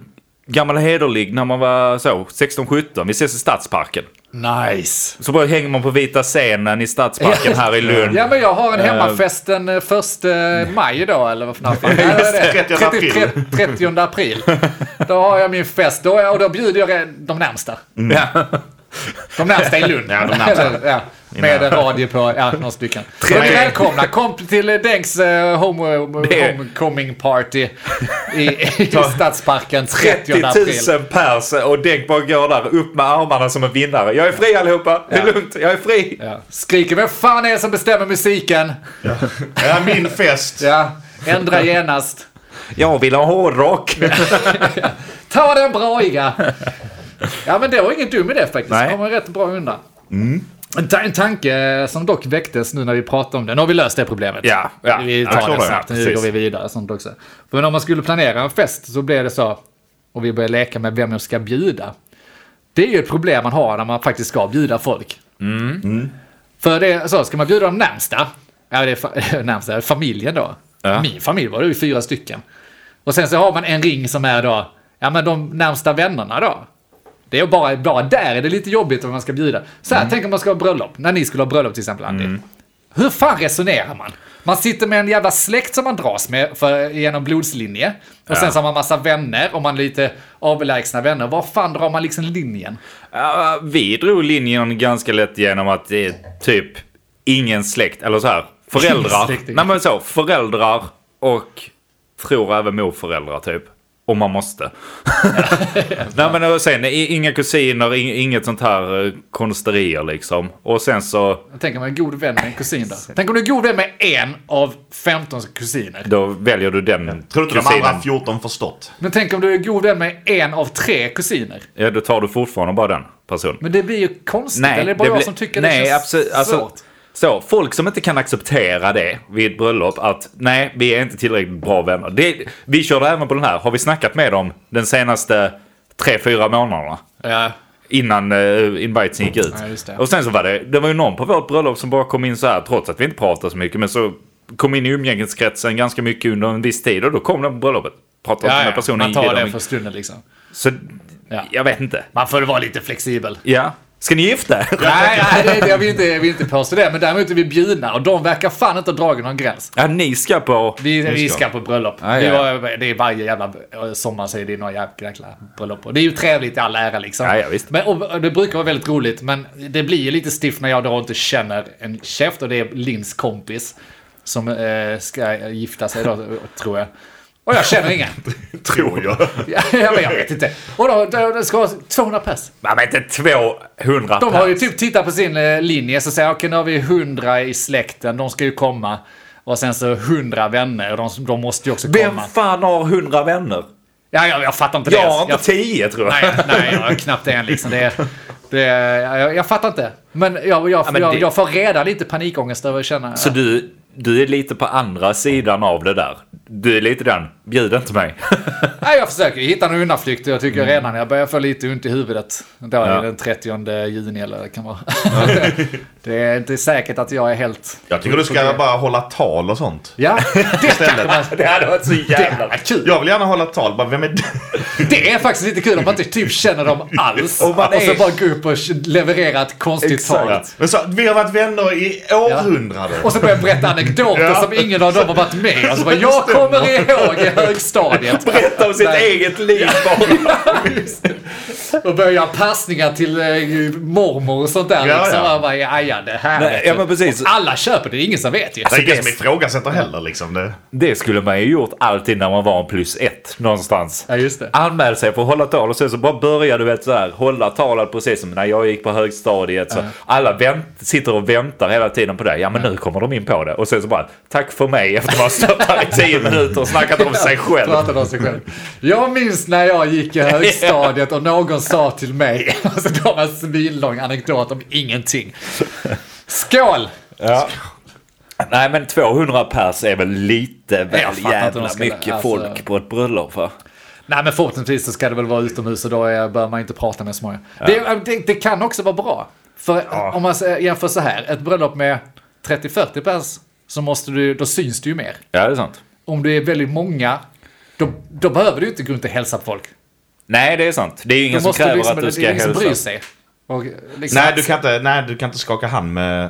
S1: gammal hederlig när man var så 16-17. Vi ses i Stadsparken.
S2: Nice.
S1: Så bara hänger man på vita scenen i Stadsparken här i Lund.
S2: Ja men jag har en hemmafest den eh, första maj då eller vad fan
S4: *laughs*
S2: fan är det?
S4: 30 april.
S2: 30 april. Då har jag min fest då, är- och då bjuder jag eh, de närmsta.
S1: Ja.
S2: De närmsta i Lund.
S4: *laughs* Ja, de närmsta.
S2: Eller, *laughs* ja, med en radio på, ja, några stycken. Men
S4: Tre-
S2: välkomna, kom till eh, Dengs eh, home,
S1: Det-
S2: homecoming party i, i Stadsparken 30
S1: 30
S2: april.
S1: 000 pers och Denk bara går där upp med armarna som en vinnare. Jag är fri allihopa, det är
S2: Ja.
S1: lugnt, jag är fri.
S2: Ja. Skriker vem fan är det som bestämmer musiken?
S4: Ja, min fest.
S2: Ja, ändra genast.
S1: Jag vill ha hårdrock.
S2: Ta den braiga! Ja men det var ingen dum idé faktiskt.
S1: Nej. Mm.
S2: Det kommer rätt bra undan. En, ta- en tanke som dock väcktes nu när vi pratade om det. Nu har vi löst det problemet.
S1: Ja, ja.
S2: Vi
S1: Jag
S2: tar
S1: tror
S2: det
S1: det, ja.
S2: snabbt. Nu
S1: Precis.
S2: går vi vidare. Sånt också. För när man skulle planera en fest så blev det så. Och vi började leka med vem jag ska bjuda. Det är ju ett problem man har när man faktiskt ska bjuda folk. För det är så, ska man bjuda de närmsta, ja det är fa- *laughs* närmsta, familjen då.
S1: Ja.
S2: Min familj var det ju fyra stycken. Och sen så har man en ring som är då, ja men de närmsta vännerna då. Det är bara, bara där är det lite jobbigt om man ska bjuda. Så här, tänk om man ska ha bröllop, när ni skulle ha bröllop till exempel Andy. Hur fan resonerar man? Man sitter med en jävla släkt som man dras med för, genom blodslinje. Och sen så har man massa vänner och man är lite avlägsna vänner. Var fan drar man liksom linjen?
S1: Ja, vi drog linjen ganska lätt genom att det är typ ingen släkt, eller så här, föräldrar.
S2: Släkting.
S1: Nej men så, föräldrar och tror även morföräldrar typ. Om man
S4: *laughs*
S1: måste. Nej men och sen i- inga kusiner, ing- inget sånt här eh, konsterier liksom. Och sen så,
S2: Tänk om man är god vän med en kusin då. Tänk om du är god vän med en av 15 kusiner.
S1: då väljer du den
S4: Tror du inte de
S1: kusinen.
S4: andra 14 förstått?
S2: Men tänk om du är god vän med en av tre kusiner.
S1: Ja, då tar du fortfarande bara den personen.
S2: Men det blir ju konstigt. eller är det bara jag
S1: blir-
S2: som tycker
S1: nej,
S2: det känns
S1: absolut,
S2: svårt?
S1: alltså, Så, folk som inte kan acceptera det vid ett bröllop att nej, vi är inte tillräckligt bra vänner. Det, vi körde även på den här, har vi snackat med dem den senaste tre, fyra månaderna?
S2: ja.
S1: Innan uh, invitesen gick ut.
S2: Ja, just det.
S1: Och sen så var det, det var ju någon på vårt bröllop som bara kom in så här, trots att vi inte pratade så mycket, men så kom in i umgängeskretsen ganska mycket under en viss tid och då kom den på bröllopet. Pratade inte
S2: Ja,
S1: med
S2: ja.
S1: personen.
S2: Man
S1: gick
S2: tar
S1: vidare.
S2: det för stunden liksom.
S1: Så,
S2: Ja.
S1: jag vet inte.
S2: Man får vara lite flexibel.
S1: Ja. Ska ni gifta er?
S2: Nej, nej det, jag, vill inte, jag vill inte påstå det. Men däremot är vi bjudna och de verkar fan inte ha dragit någon gräns.
S1: *laughs* Ja, ni ska på...
S2: Vi, vi
S4: ska.
S2: ska på bröllop.
S1: Ah, Ja,
S2: Vi
S1: ja.
S2: var, det är varje jävla sommar så är det några jäkla bröllop. Och det är ju trevligt i all ära liksom.
S1: Ja, ja, visst.
S2: Men, och, och det brukar vara väldigt roligt, men det blir ju lite stift när jag då inte känner en käft. Och det är Lins kompis som eh, ska gifta sig då, *laughs* tror jag. Och jag
S1: *laughs*
S2: känner ingen.
S4: Tror jag.
S2: Ja, men jag vet inte. Och då, då, då ska 200 pers.
S1: Man vet inte 200
S2: De har ju
S1: pers.
S2: typ tittat på sin eh, linje så säger okej nu har vi hundra i släkten, de ska ju komma. Och sen så hundra vänner, och de, de måste ju också
S1: Vem
S2: komma.
S1: fan har 100 vänner?
S2: Ja, jag, jag fattar inte det.
S1: Jag har
S2: ens.
S1: inte 10 tror jag.
S2: jag, nej, nej, jag har knappt en liksom. Det, det, jag, jag fattar inte. Men jag, jag,
S1: men
S2: jag,
S1: det-
S2: jag får redan lite panikångest över att känna...
S1: Så du, du är lite på andra sidan av det där. Du är lite den, bjud inte mig.
S2: Nej, jag försöker ju hitta en undanflykt och jag tycker redan jag börjar få lite ont i huvudet. Då är
S1: Mm. Ja.
S2: det den 30 juni eller vad det kan vara. *laughs* det är inte säkert att jag är helt...
S4: Jag tycker du ska bara hålla tal och sånt.
S2: Ja, det kanske man...
S1: *laughs* *laughs* det hade varit så jävla...
S2: Ja, kul.
S4: Jag vill gärna hålla tal. Bara, vem är du?
S2: Det är faktiskt lite kul om man inte typ känner dem alls.
S1: Och
S2: Och,
S1: man är-
S2: så bara gå upp och leverera ett konstigt
S1: Exakt.
S2: tal.
S4: Men så, vi har varit vänner i århundraden.
S2: Och så börjar jag berätta anekdoter
S4: Ja.
S2: som ingen av dem har varit med om. Så bara, Jag kommer ihåg i högstadiet.
S1: Berätta om sitt
S2: Nej.
S1: eget liv bara.
S2: och börjar göra passningar till eh, mormor och sånt där.
S4: Ja,
S2: liksom.
S4: ja.
S2: Och bara, ja, ja, det
S1: *laughs*
S2: här
S1: Nej,
S2: vet
S1: ja,
S2: du.
S1: men precis.
S2: Och alla köper det, det är ingen som vet ju.
S4: Det är ingen som
S1: det-
S4: ifrågasätter heller liksom. Det,
S1: Det skulle man ju gjort alltid när man var en plus ett någonstans.
S2: Ja, just det.
S1: Anmäl sig för att hålla tal och sen så bara börja du vet så här hålla talet precis som när jag gick på högstadiet. Så Alla vänt, sitter och väntar hela tiden på det. Ja men nu kommer de in på det. Och sen så bara tack för mig efter att ha stått här i tio minuter och snackat om sig själv.
S2: Pratade om sig själv. Jag minns när jag gick i högstadiet och någon sa till mig, *laughs* alltså det var en svinlång anekdot om ingenting. Skål!
S1: Ja. Nej men 200 pers är väl lite väl
S2: jag fattar inte hur
S1: jävla
S2: de ska-
S1: mycket
S2: alltså-
S1: folk på ett bröllop va?
S2: Nej men förhoppningsvis så ska det väl vara utomhus och då är- bör man inte prata med så många. Det, äh, det, det kan också vara bra. För om man s- jämför så här, ett bröllop med 30-40 pers så måste du, då syns du ju mer.
S1: Ja det är sant.
S2: Om du är väldigt många, då, då behöver du inte gå runt och hälsa på folk.
S1: Nej det är sant. Det är ju
S2: Då
S1: ingen som
S2: måste
S1: kräver
S2: du liksom,
S1: att du
S2: det
S1: ska
S2: är ingen som bryr
S1: hälsa.
S2: sig. Och liksom-
S4: nej, du kan inte, nej, du kan inte skaka hand med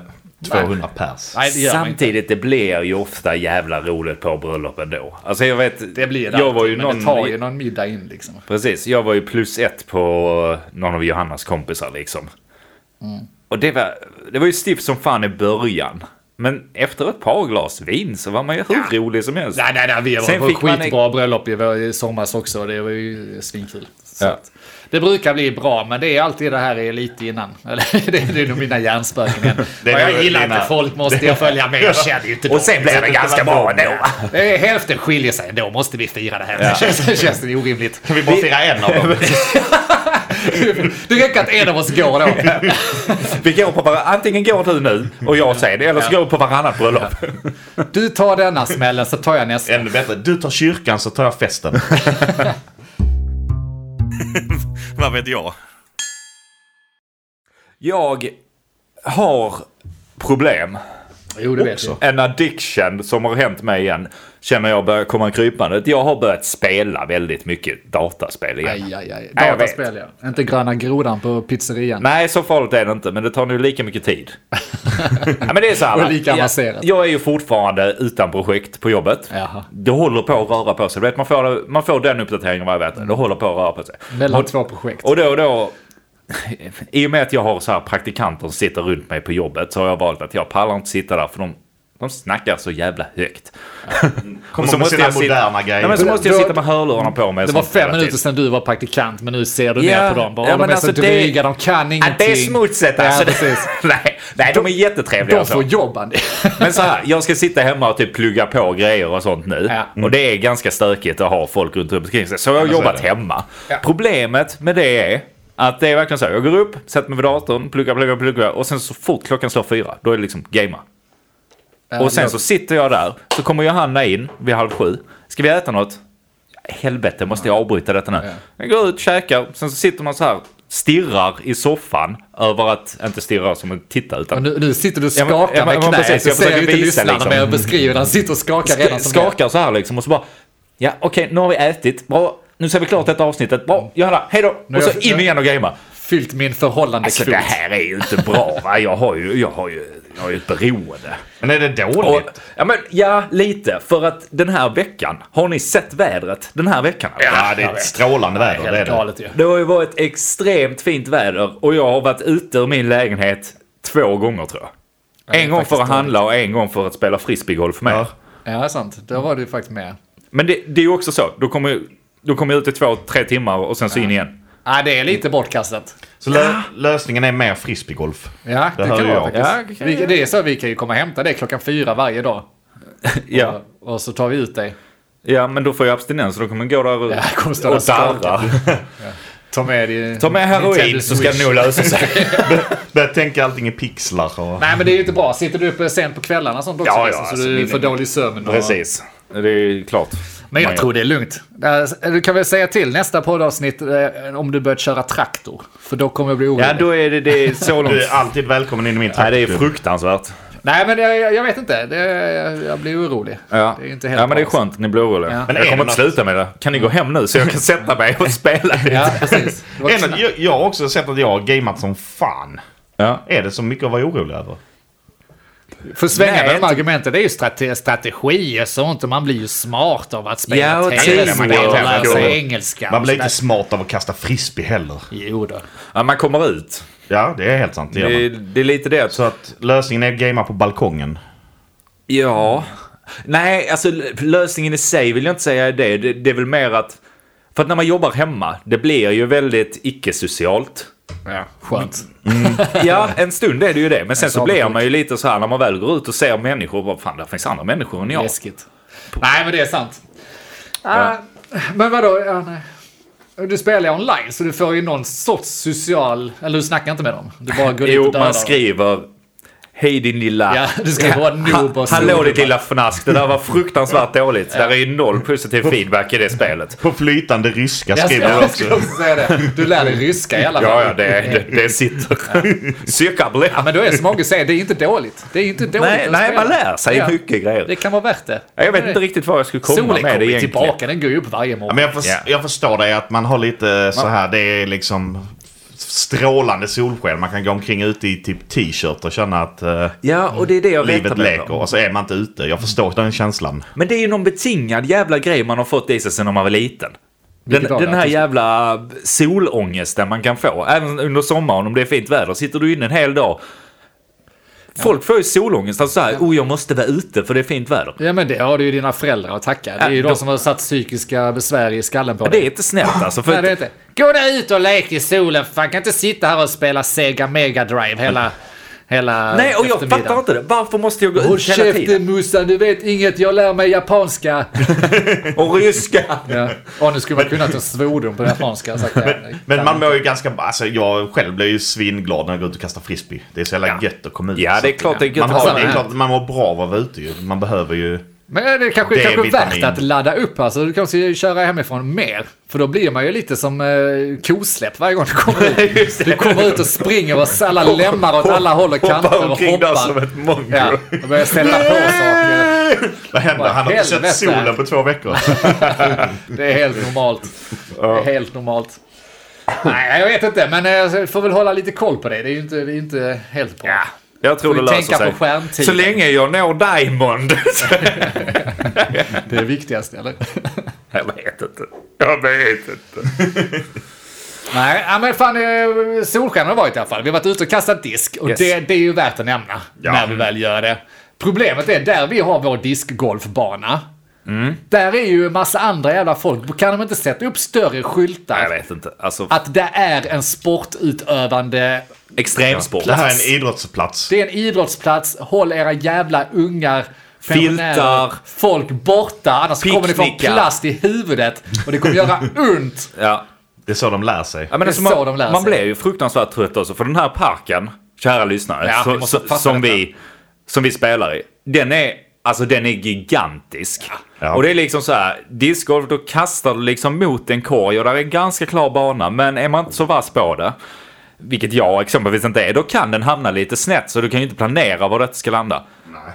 S4: 200 pers.
S2: Nej, det gör man inte.
S1: Samtidigt, det blir ju ofta jävla roligt på bröllop ändå. Alltså jag vet,
S2: Det blir det
S1: jag
S2: alltid,
S1: var ju
S2: men
S1: någon...
S2: det tar ju någon middag in liksom.
S1: Precis, jag var ju plus ett på någon av Johannas kompisar liksom. Och det var, det var ju stift som fan i början. Men efter ett par glas vin så var man ju hur rolig som helst.
S2: Nej, nej, nej. Vi var
S1: Sen
S2: på
S1: fick man
S2: skitbra bröllop i vår- i somras också. och Det var ju svinkul. Så
S1: Ja.
S2: att Det brukar bli bra, men det är alltid det här är lite innan. *laughs* Eller, det är det är nog mina
S1: *laughs*
S2: hjärnspöken igen.
S4: Det är
S2: Vad
S4: nog
S2: jag gillar
S4: dina-
S2: inte folk måste jag följa med. Jag känner ju inte
S1: Och sen
S2: dem,
S1: blev
S2: så
S1: det
S2: att
S1: ganska
S2: var
S1: bra
S2: många.
S1: ändå.
S2: Eh, Hälften skiljer sig, då måste vi fira det här. Det känns, det känns det orimligt.
S4: Kan vi bara fira en av dem?
S2: Det räcker att en av oss går då.
S1: *laughs* Vi går på var- antingen går du nu och jag säger det, eller så går vi på varannat bröllop.
S2: Du tar denna smällen så tar jag nästa.
S4: *laughs* Ännu bättre. Du tar kyrkan så tar jag festen.
S1: Vad vet jag? Jag har problem.
S2: Jo, det vet jag.
S1: En addiction som har hänt mig igen. Känner jag börjar komma krypande. Jag har börjat spela väldigt mycket dataspel igen.
S2: Aj, aj, aj.
S1: Ja, jag vet.
S2: Dataspel, ja. Inte gröna grodan på pizzerian.
S1: Nej, så farligt är det inte, men det tar nu lika mycket
S2: *laughs*
S1: tid. ja, men det är så här,
S2: Och
S1: va?
S2: lika
S1: Jag-
S2: avancerat.
S1: Jag är ju fortfarande utan projekt på jobbet.
S2: Jaha.
S1: Det håller på att röra på sig. Du vet, man, får, man får den uppdateringen vad jag vet. Det håller på att röra på sig.
S2: Mellan två projekt.
S1: Och då och då, *laughs* i och med att jag har så här praktikanter som sitter runt mig på jobbet så har jag valt att jag pallar inte sitta där för de, de snackar så jävla
S4: *laughs*
S1: högt.
S4: Kommer med sina moderna grejer.
S1: Nej, men så måste jag
S2: Då-
S1: sitta med hörlurarna på mig. och
S2: Det var
S1: sånt
S2: fem
S1: hela tiden.
S2: minuter sedan du var praktikant, men nu ser du ner
S1: Ja,
S2: på dem. Bara,
S1: ja,
S2: de
S1: men
S2: är så
S1: alltså det-
S2: dryga, de kan
S1: Ja,
S2: ingenting.
S1: det är smutsigt
S2: Ja,
S1: alltså. *laughs*
S2: precis.
S1: nej, nej, de är jättetrevliga. alltså.
S2: De
S1: och så.
S2: får
S1: *laughs*
S2: jobb, Andy.
S1: Men så här, jag ska sitta hemma och typ plugga på grejer och sånt nu.
S2: Ja.
S1: Och det är ganska stökigt att ha folk runt omkring sig. Så jag har
S4: så är
S1: jobbat
S4: det.
S1: hemma.
S2: Ja.
S1: Problemet med det är att det är verkligen så här, jag går upp, sätter mig vid datorn, pluggar, pluggar, pluggar och sen så fort klockan slår fyra, då är det liksom gamea. Och sen så sitter jag där, så kommer Johanna in vid halv sju. Ska vi äta något? Helvete, måste jag avbryta detta nu?
S2: Ja.
S1: Jag går ut, käkar, sen så sitter man så här, stirrar i soffan över att, inte stirrar som en titta utan
S2: Och nu, nu sitter du och
S1: Ja, men-
S2: skakar
S1: ja, men-
S2: med
S1: ja, men
S2: knäet.
S1: precis.
S2: jag
S1: Jag
S2: ser
S1: försöker
S2: inte
S1: visa,
S2: lyssnarna
S1: liksom.
S2: med att beskriva. Han sitter och skakar redan. som det är.
S1: skakar så här liksom och så bara Ja okej, nu har vi ätit, bra. Nu ser vi klart detta avsnittet. Bra, Johanna, hejdå!
S2: Nu
S1: Och så
S2: jag-
S1: in igen och gamea.
S2: Fyllt min förhållande
S1: Alltså det här är ju inte bra va? Jag har ju, jag har ju, jag har ju ett beroende.
S4: Men är det
S1: Och,
S4: dåligt?
S1: ja men ja, lite. För att den här veckan, har ni sett vädret den här veckan? eller?
S4: ja, det är ett strålande väder. Det är
S2: Helt
S4: det.
S2: galet ju.
S1: Det har ju varit extremt fint väder och jag har varit ute ur min lägenhet två gånger tror jag.
S2: det är
S1: En gång för att
S2: faktiskt
S1: handla och en gång för att spela frisbeegolf med er.
S2: Ja, sant. Då var du faktiskt med.
S1: Men det, det är ju också så. Då kommer, jag- då kommer jag ut i två, tre timmar och sen så in igen.
S2: Ja, det är lite bortkastat.
S4: Så lö- lösningen är mer frisbeegolf.
S2: Ja, det,
S4: Det hör
S2: kan vara
S4: jag.
S2: faktiskt.
S1: Ja,
S2: Vi, det är så vi kan ju komma och hämta dig klockan fyra varje dag.
S1: ja,
S2: Och så tar vi ut dig.
S1: ja, men då får jag abstinens och då kommer jag gå där
S2: Ja, kommer stå
S1: och,
S2: där
S1: och
S2: och skaka.
S1: darra.
S2: Ta med dig...
S1: Ta
S2: *laughs*
S1: med heroin
S2: Nintendo
S1: så ska det
S2: Switch.
S1: nog lösa sig.
S4: Börja tänka allting i pixlar och...
S2: Nej men det är ju inte bra. Sitter du uppe sent på kvällarna och sånt också
S1: Ja, ja,
S2: liksom, så
S1: alltså,
S2: du
S1: min-
S2: får dålig sömn. Och...
S1: Precis. Det är klart.
S2: Men jag
S1: Man
S2: tror det är lugnt. Där- Du kan väl säga till nästa poddavsnitt eh, om du börjat köra traktor. För då kommer jag bli orolig.
S1: Ja, då är det, det är så långt.
S4: Du är alltid välkommen in i min
S1: Nej, det är
S4: traktor.
S1: fruktansvärt.
S2: Nej men jag, jag- jag vet inte. Det, jag, jag blir orolig.
S1: Ja.
S2: Det är inte helt
S1: ja, men det är
S2: bra,
S1: skönt. Ni blir oroliga.
S2: Ja.
S1: Men
S4: Men
S1: jag
S4: är
S1: kommer
S4: det
S1: inte sluta med det. Kan ni gå hem nu så jag kan sätta mig och spela lite?
S2: Ja, precis. Det var
S4: En, jag, jag har också sett att jag har gameat som fan.
S1: Ja.
S4: Är det så mycket att vara orolig över?
S2: För svänga
S1: Nej,
S2: med de
S1: inte-
S2: argumenten, det är ju strate strategi och sånt. Och man blir ju smart av att spela
S1: Ja, och
S2: tv-spel och
S1: tidspel och
S2: lära
S4: allt.
S2: sig engelska.
S1: alltså
S4: Man blir
S2: och
S4: inte
S2: sådär.
S4: smart av att kasta frisbee heller.
S2: Jo då.
S1: Ja, man kommer ut.
S4: Ja, det är helt sant. Det gör
S1: Det,
S4: man.
S1: det är lite det.
S4: Så att lösningen är att gamea på balkongen.
S1: Ja. Nej, alltså l- lösningen i sig vill jag inte säga är det. det. Det är väl mer att... För att när man jobbar hemma, det blir ju väldigt icke-socialt.
S2: Ja, skönt.
S1: Ja, *laughs* en stund är det ju det. Men sen så
S2: avundsjuk.
S1: blir man ju lite så här när man väl går ut och ser människor. Vad fan, där finns andra människor än jag.
S2: Läskigt. Nej, men det är sant. Ah, men vadå? Ja, nej. Du spelar ju online, så du får ju någon sorts social... Eller du snackar inte med dem. Du bara går dit och
S1: Jo,
S2: dödar
S1: man
S2: dem.
S1: skriver... Hej din lilla... *laughs*
S2: Ja, du skriver bara noob och
S1: Hallå
S2: snobb.
S1: ditt lilla fnask, det *laughs* där var fruktansvärt dåligt. Där är ju noll *laughs* positiv feedback i det spelet.
S4: På flytande ryska
S2: Jag
S4: skriver
S2: ska,
S4: du
S2: jag ska
S4: också.
S2: också säga det. Du lär dig ryska i alla fall.
S1: Ja, ja, det, det, det sitter. *laughs* Psyka blir.
S2: Men då är det som Åge säger, det är inte dåligt. Det är inte dåligt
S1: Nej,
S2: att
S1: nej,
S2: spela.
S1: man lär sig
S2: Ja.
S1: mycket grejer.
S2: Det kan vara värt det.
S1: Ja, Jag vet inte riktigt vad jag skulle komma
S2: Solen
S1: med
S2: kommer
S1: det
S2: ju
S1: egentligen.
S2: tillbaka, den går ju upp varje
S4: Ja,
S2: morgon.
S4: men jag, förs-
S1: Ja.
S4: jag förstår dig att man har lite så här, det är liksom strålande solsken. Man kan gå omkring ute i typ t-shirt och känna att eh,
S1: Ja, och det är det jag retar
S4: livet
S1: mig
S4: leker
S1: på.
S4: och så är man inte ute. Jag förstår den känslan.
S1: Men det är ju någon betingad jävla grej man har fått i sig sedan man var liten. Den,
S2: Vilket var det?
S1: den här jävla solångesten man kan få. Även under sommaren om det är fint väder. Sitter du inne en hel dag. Folk får ju solångest. Alltså såhär, oh jag måste vara ute för det är fint väder.
S2: Ja men det har du ju dina föräldrar att tacka. Det är ju
S1: Ja,
S2: de
S1: då-
S2: som har satt psykiska besvär i skallen på
S1: Det är
S2: dig.
S1: inte snällt alltså. För
S2: Nej, det är inte. Gå där ut och lek i solen, fan kan inte sitta här och spela Sega Mega Drive hela, hela
S1: nej och jag
S2: eftermiddagen.
S1: fattar inte det. Varför måste jag gå
S2: Håll
S1: ut hela tiden?
S2: käften Mussan, du vet inget, jag lär mig japanska.
S1: Och
S2: *laughs*
S1: ryska.
S2: ja. Åh, nu skulle man kunnat en svordom på japanska. jag har Sagt det.
S4: Men man mår ju ganska... Alltså jag själv blir ju svinglad när jag går ut och kastar frisbee. Det är så jävla
S1: Ja.
S4: gött att komma ut.
S1: Ja, det är klart det är gött
S4: man,
S1: att
S4: har,
S1: komma
S4: det är
S2: ut.
S4: klart, att man mår bra av att vara ute ju. Man behöver ju...
S2: Men det är kanske,
S4: Det är
S2: kanske värt
S4: vitamin.
S2: att ladda upp alltså. Du kanske ska köra hemifrån mer. För då blir man ju lite som eh, kosläpp varje gång du *laughs* kommer ut. Du kommer ut och springer och alla lämmar åt alla håll och kanter och
S1: omkring där som
S2: hoppar.
S1: ett mongo.
S2: Ja, och börjar ställa på saker.
S4: Vad händer?
S2: Vad
S4: Han har inte
S2: helvete.
S4: sett solen på två *laughs* veckor.
S2: Det är helt normalt. Det är helt normalt. Nej, jag vet inte. Men eh, jag får väl hålla lite koll på det. Det är ju inte, det är inte helt bra.
S1: Jag tror
S2: Får
S1: det
S2: ju
S1: löser
S2: tänka
S1: sig.
S2: på skärmtiden.
S1: Så länge jag når *laughs* Diamond.
S2: Det är viktigast, eller?
S1: jag vet inte. Jag vet inte.
S2: Nej, ja, men fan eh, solsken har det varit i alla fall. Vi har varit ute och kastat disk och
S1: Yes.
S2: det, det är ju värt att nämna
S4: Ja.
S2: när vi väl gör det. Problemet är där vi har vår diskgolfbana. Där är ju en massa andra jävla folk. Kan de inte sätta upp större
S1: Jag
S2: skyltar?
S1: vet inte. Alltså,
S2: Att det är en sportutövande...
S1: extremsport.
S4: Det här är en idrottsplats.
S2: Det är en idrottsplats. Håll era jävla ungar, pensionärer,
S1: Filtar.
S2: folk borta. Annars kommer ni få
S1: Picknickar.
S2: plast i huvudet och det kommer
S4: *laughs*
S2: göra ont.
S1: Ja.
S4: Det är så de lär sig.
S1: Ja, men
S2: Det är
S1: alltså,
S2: så
S1: man,
S2: de lär
S1: man
S2: sig.
S1: blev ju fruktansvärt trött också, för den här parken, kära lyssnare,
S2: Ja, vi
S1: så,
S2: måste
S1: så,
S2: fatta
S1: som,
S2: detta.
S1: vi, som vi spelar i, den är, alltså, den är gigantisk.
S4: Ja.
S1: Och det är liksom så här, discgolf, då kastar du liksom mot en korg och där är en ganska klar bana, men är man inte så vass på det, vilket jag exempelvis inte är, då kan den hamna lite snett så du kan ju inte planera var det ska landa.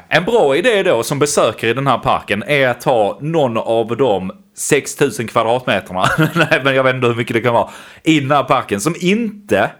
S1: En bra idé då som besökare i den här parken är att ta någon av de 6000 kvadratmeterna, *laughs* nej men jag vet inte hur mycket det kan vara, i den här parken som inte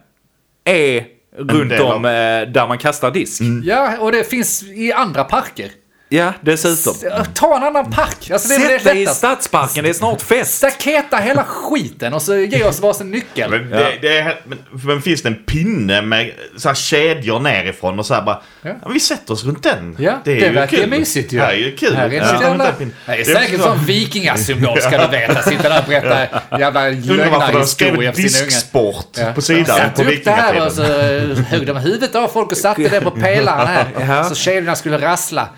S1: är runt
S4: del av-
S1: om eh, där man kastar disk.
S2: Ja, och det finns i andra parker.
S1: Ja, dessutom.
S2: Ta en annan park. Alltså, det är
S1: Sätt
S2: väl det
S1: dig i
S2: lättaste.
S1: stadsparken, det är snart fest.
S2: Staketa hela skiten och så ge oss varsin nyckel.
S4: Men, det, det är, men, men finns det en pinne med så här kedjor nerifrån och så här bara... Ja. men vi sätter oss runt den.
S2: Ja, det,
S4: ju
S2: verkar
S4: kul.
S2: mysigt ju.
S4: Det här är ju kul.
S2: Här är det,
S4: Vi sitter runt
S2: jävla,
S4: den pinnen.
S2: det är
S4: Det är
S2: säkert
S4: så- *laughs*
S2: som vikingasymbol ska du veta. Sitta där och berätta jävla
S4: Undrar varför de har
S2: lögnarhistorier
S4: skrivit
S2: för sina ungar.
S4: disksport
S2: Ja.
S4: Typ på sidan
S2: Satte
S4: på
S2: upp det här och så
S4: vikingatiden.
S2: högg de huvudet av folk och satte det på pelaren här. Så kedjorna skulle rassla.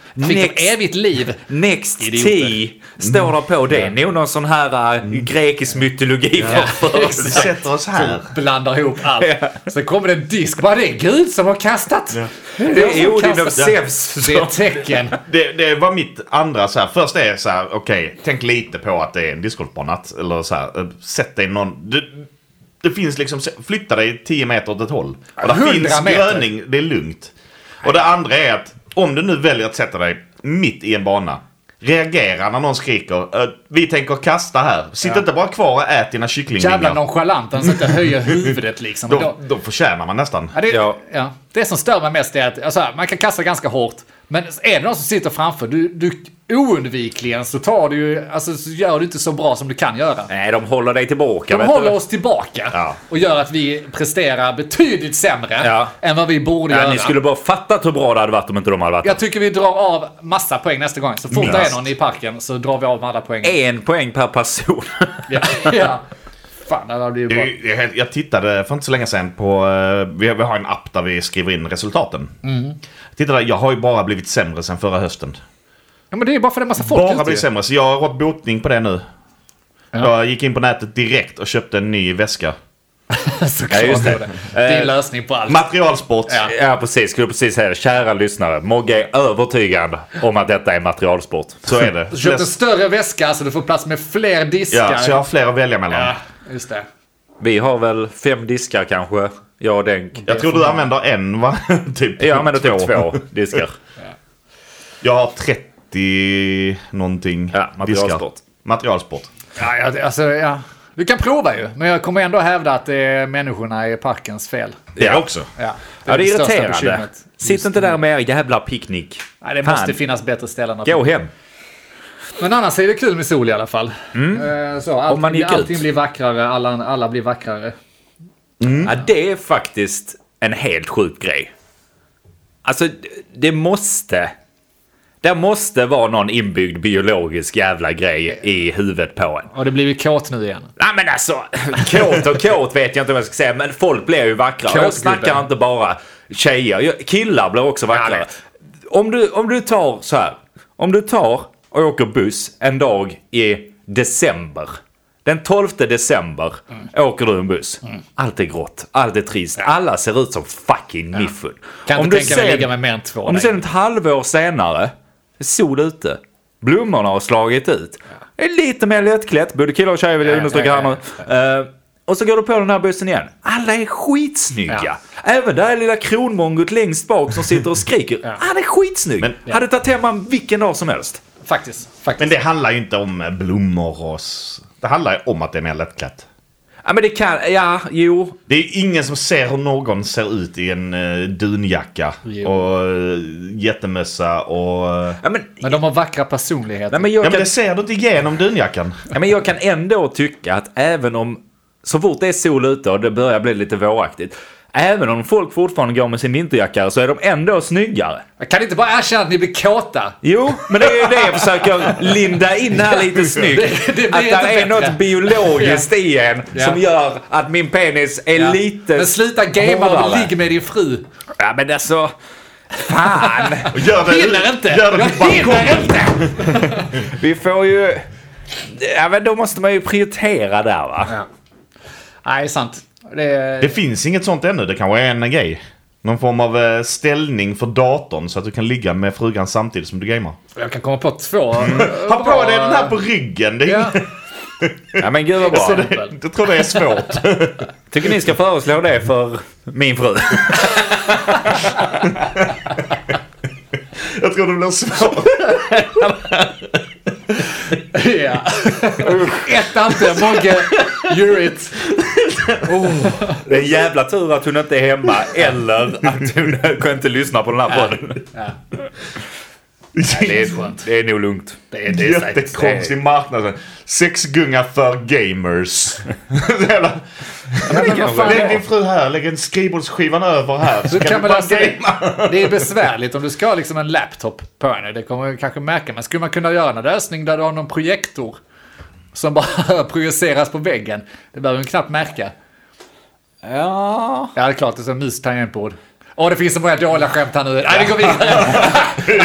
S2: Fick de
S1: Next.
S2: evigt liv.
S1: Next
S2: Idioter. Mm.
S1: T står där på. Det är nog någon sån här eh, grekisk mytologi
S2: *laughs*
S1: för
S4: Vi
S1: oss.
S4: sätter oss här.
S2: Blandar ihop allt. Sen kommer det en disk. Bara det är Gud som har kastat.
S1: Det är
S2: som
S1: Odin
S2: kastar.
S1: och Zeus.
S2: Det är ett tecken.
S4: Det, det var mitt andra så här. Först är så här, okej, tänk lite på att det är en discgolfbana. att- Eller så här, eh, sätt dig någon... Det, det finns liksom, flytta dig 10 meter åt ett håll. Och där
S2: 100
S4: finns
S2: meter.
S4: gröning, det är lugnt. Och det andra är att om du nu väljer att sätta dig mitt i en bana. Reagera när någon skriker. eh, Vi tänker kasta här. Sitt inte bara kvar och ät dina kycklingvingar.
S2: Jävla nonchalant, han sitter och höjer huvudet liksom. Och
S4: Då,
S2: då,
S4: då förtjänar man nästan.
S2: ja, det, ja.
S1: Ja.
S2: Det som stör mig mest är att alltså, man kan kasta ganska hårt, men är det någon som sitter framför, du, du oundvikligen så tar du ju, alltså så gör du inte så bra som du kan göra.
S1: Nej, de håller dig tillbaka.
S2: De
S1: vet
S2: håller
S1: du.
S2: oss tillbaka
S4: Ja.
S2: och gör att vi presterar betydligt sämre
S1: Ja.
S2: än vad vi borde
S1: Ja,
S2: göra.
S1: ni skulle bara fattat hur bra det hade varit om inte de hade varit
S2: Jag tycker vi drar av massa poäng nästa gång. Så fort det är
S1: Minst.
S2: någon i parken så drar vi av alla poäng.
S1: En poäng per person.
S2: *laughs*
S1: *laughs*
S2: Ja. ja. Fan, det här blir
S4: Det
S2: bra.
S4: är ju- Jag, jag tittade för inte så länge sedan på... eh, Vi har, vi har en app där vi skriver in resultaten.
S1: Mm.
S4: Titta där, jag har ju bara blivit sämre sedan förra hösten.
S2: Ja, men det är bara för det är massa folk
S4: Bara
S2: ute.
S4: blivit sämre, så jag har rått botning på det nu. Jag gick in på nätet direkt och köpte en ny väska.
S2: *laughs* Såklart.
S1: Ja, just det. Eh,
S2: Det är en lösning på allt.
S4: Materialsport!
S2: Ja.
S1: Ja, precis. Skulle precis säga det. Kära lyssnare, Mogge är övertygad om att detta är materialsport.
S4: Så är det.
S2: Köp en större väska så du får plats med fler diskar.
S4: Ja, så jag har fler att välja mellan.
S2: Ja, just det.
S1: Vi har väl fem diskar kanske, jag och Denk.
S4: Jag tror du använder en va? *laughs* typ
S1: Jag använder typ två diskar.
S4: Jag har 30 någonting.
S1: Ja, materialsport.
S4: diskar. Materialsport.
S2: Ja, jag, alltså, ja. Du kan prova ju, men jag kommer ändå hävda att det är människorna i parkens fel.
S4: Det också.
S2: Ja,
S1: *laughs* Ja, det är
S2: största
S1: irriterande.
S2: bekymret.
S1: Sitt inte där med er jävla picknick.
S2: Nej, det
S1: Fan.
S2: måste finnas bättre ställen. att-
S1: Gå hem.
S2: Men annars är det kul med sol i alla fall. Eh, Så, allting,
S1: Mm. man gick ut.
S2: allting blir vackrare, alla, alla blir vackrare.
S1: Ja, det är faktiskt en helt sjuk grej. Alltså, d- det måste... Det måste vara någon inbyggd biologisk jävla grej i huvudet på en.
S2: Och det blir ju kåt nu igen.
S1: Nej men alltså, kåt och kåt vet jag inte vad jag ska säga, men folk blir ju vackrare.
S2: Kåtgubbe.
S1: jag snackar inte bara tjejer, jag- killar blir också vackrare. Om du, om du tar så här, om du tar och åker buss en dag i december. Den 12 december
S2: Mm.
S1: åker du en buss. Allt är grått, allt är trist, alla ser ut som fucking niffun.
S2: Kan
S1: Om
S2: inte
S1: du
S2: tänka mig
S1: sen-
S2: att ligga med män två.
S1: om du
S2: längre.
S1: sen ett halvår senare, sol ute, blommorna har slagit ut. Det är lite mer lättklätt, både killar och tjejer vill jag
S2: Ja,
S1: understryka
S2: ja,
S1: här
S2: ja,
S1: nu. Eh, och så går du på den här bussen igen. Alla är skitsnygga.
S2: Ja.
S1: Även det här lilla kronmongot längst bak som
S2: *laughs*
S1: sitter och skriker. Han är skitsnygg.
S4: Men-
S1: Hade tagit hem han vilken dag som helst.
S2: Faktiskt.
S4: Men
S2: faktiskt.
S4: det handlar ju inte om eh, blommor och... s- Det handlar ju om att det är mer lättklätt.
S1: Ja, men det kan... Ja, jo.
S4: Det är ju ingen som ser hur någon ser ut i en eh, dunjacka
S2: Jo.
S4: och eh, jättemössa och... eh,
S1: Ja, men,
S2: Men de har vackra personligheter.
S1: nej, men
S4: Ja
S1: jag
S4: men
S1: kan...
S4: det ser du inte igenom dunjackan.
S1: Ja, men jag kan ändå tycka att även om, så fort det är sol ute och det börjar bli lite våraktigt, även om folk fortfarande går med sin vinterjacka så är de ändå snyggare.
S2: Jag kan inte bara erkänna att ni blir kåta.
S1: Jo, men det är ju det jag försöker linda in här lite snyggt.
S2: Det- det blir
S1: att
S2: inte
S1: det är
S2: bättre.
S1: något biologiskt i en som gör att min penis är lite
S2: Men sluta gamea och
S1: hårdare.
S2: ligg med din fru.
S1: Ja, men alltså... Fan!
S4: Och Gör det,
S2: Hinner inte!
S4: Gör det
S2: jag
S4: på balkongen!
S2: hinner inte!
S1: Vi får ju... Ja, men då måste man ju prioritera där va?
S2: Nej, sant. Det är...
S4: Det finns inget sånt ännu. Det kanske är en grej. Någon form av eh, ställning för datorn så att du kan ligga med frugan samtidigt som du gamer.
S2: Jag kan komma på två.
S1: Mm.
S4: Ha på dig den här på ryggen. Det
S1: *laughs*
S4: är
S2: Ja. Alltså,
S1: Ja, men gud vad bra.
S4: Så det, jag tror det är svårt.
S1: Tycker ni ska föreslå det för min fru?
S4: Jag tror det blir svårt.
S2: Ja. Ett Ante, Mogge, you're it.
S1: Det är en jävla tur att hon inte är hemma eller att hon kan inte lyssna på den här podden. Det är, det är nog lugnt.
S2: Det är,
S4: En
S2: det är säkert-
S4: jättekonstig marknad. Sexgunga för gamers. *laughs* Jävla-
S2: Nej, men vad fan
S4: Lägg
S2: det
S4: din
S2: är.
S4: fru här, lägg en skrivbordsskivan över här.
S2: Du
S4: Så kan,
S2: kan
S4: du
S2: väl
S4: bara
S2: alltså, det, *laughs*
S4: gamea.
S2: det är besvärligt om du ska ha liksom en laptop på henne. Det kommer vi kanske märka. Men skulle man kunna göra en lösning där du har någon projektor som bara *laughs* projiceras på väggen? Det behöver hon knappt märka.
S1: Ja.
S2: Ja, det är klart. Det är som mus tangentbord. Åh, det finns så många dåliga skämt här nu. Nej, vi
S1: *laughs*
S2: går vidare.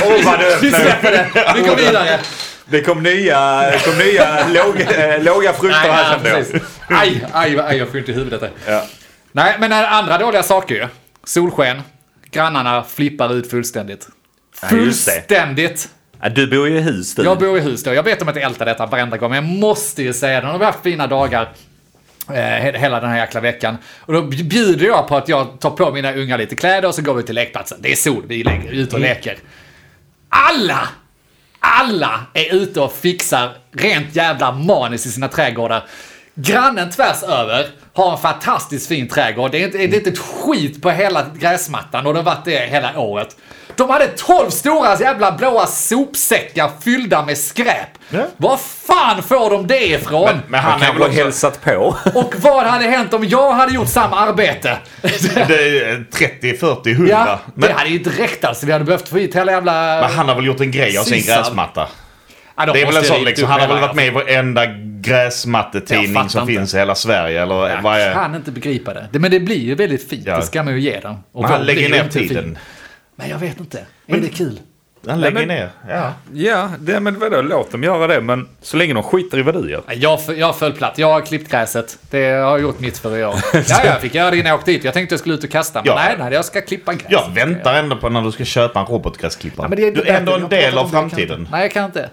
S1: Oh, vad
S2: Vi
S1: det,
S2: släpper det. Vi går vidare.
S1: det kom nya, det kom nya låg, eh, låga frukter här kände
S2: Nej, nej,
S1: jag.
S2: precis. Aj, aj, aj, jag får inte i huvudet. Där.
S1: Ja.
S2: Nej, men eh, andra dåliga saker ju. Solsken. Grannarna flippar ut fullständigt.
S1: Ja, just det.
S2: Fullständigt!
S1: Ja, Du bor ju i hus du.
S2: Jag bor i hus då. Jag vet om att jag ältar detta varenda gång, men jag måste ju säga det. De har haft fina dagar eh, he- hela den här jäkla veckan. Och då bjuder jag på att jag tar på mina unga lite kläder och så går vi till lekplatsen. Det är sol, vi lägger, ut och leker. Alla! Alla är ute och fixar rent jävla manis i sina trädgårdar. Grannen tvärs över har en fantastiskt fin trädgård. Det är inte, det är inte ett skit på hela gräsmattan och den har varit det hela året. De hade 12 stora jävla blåa sopsäckar fyllda med skräp.
S4: Ja.
S2: Var fan får de det ifrån?
S4: Men, men han är
S1: kan
S4: väl
S1: väl ha
S4: också...
S1: hälsat på.
S2: Och vad hade hänt om jag hade gjort samma arbete?
S4: Det är eh, 30, 40, 100.
S2: Ja,
S4: men,
S2: det hade ju inte räckt alltså. Vi hade behövt få hit hela jävla...
S4: men han har väl gjort en grej av sin
S2: Sissan.
S4: gräsmatta?
S2: Ja, de
S4: Det är väl
S2: måste
S4: en sån
S2: rita
S4: liksom.
S2: upp
S4: Han har
S2: hela
S4: väl varit med i varenda
S2: Jag
S4: gräsmattetidning
S2: fattar
S4: som
S2: inte.
S4: finns i hela Sverige. Eller
S2: Jag
S4: vad är...
S2: kan inte begripa det. det. Men det blir ju väldigt fint,
S4: Ja.
S2: det ska man ju ge dem. Och
S4: Men han
S2: de
S4: lägger
S2: blir
S4: ner
S2: inte
S4: tiden.
S2: fint. Men jag vet inte. Är
S4: Men-
S2: det kul?
S4: Han lägger
S1: men-
S4: ner. Ja.
S1: Ja, det, men vadå, låt dem göra det. Men så länge de skiter i vad du gör.
S2: Nej, Jag, f- jag föll platt. Jag har klippt gräset. Det har jag gjort mitt
S4: *laughs*
S2: för i år. Ja, jag fick göra det innan jag åkte dit. Jag tänkte jag skulle ut och kasta, men
S4: Ja.
S2: nej, nej, jag ska klippa gräs.
S4: Jag väntar ändå på när du ska köpa en robotgräsklippare.
S2: Ja, men
S4: du är
S2: därför
S4: ändå
S2: jag
S4: en
S2: pratar
S4: del
S2: om
S4: av
S2: det. Jag kan inte-
S4: framtiden.
S2: Nej, jag kan inte.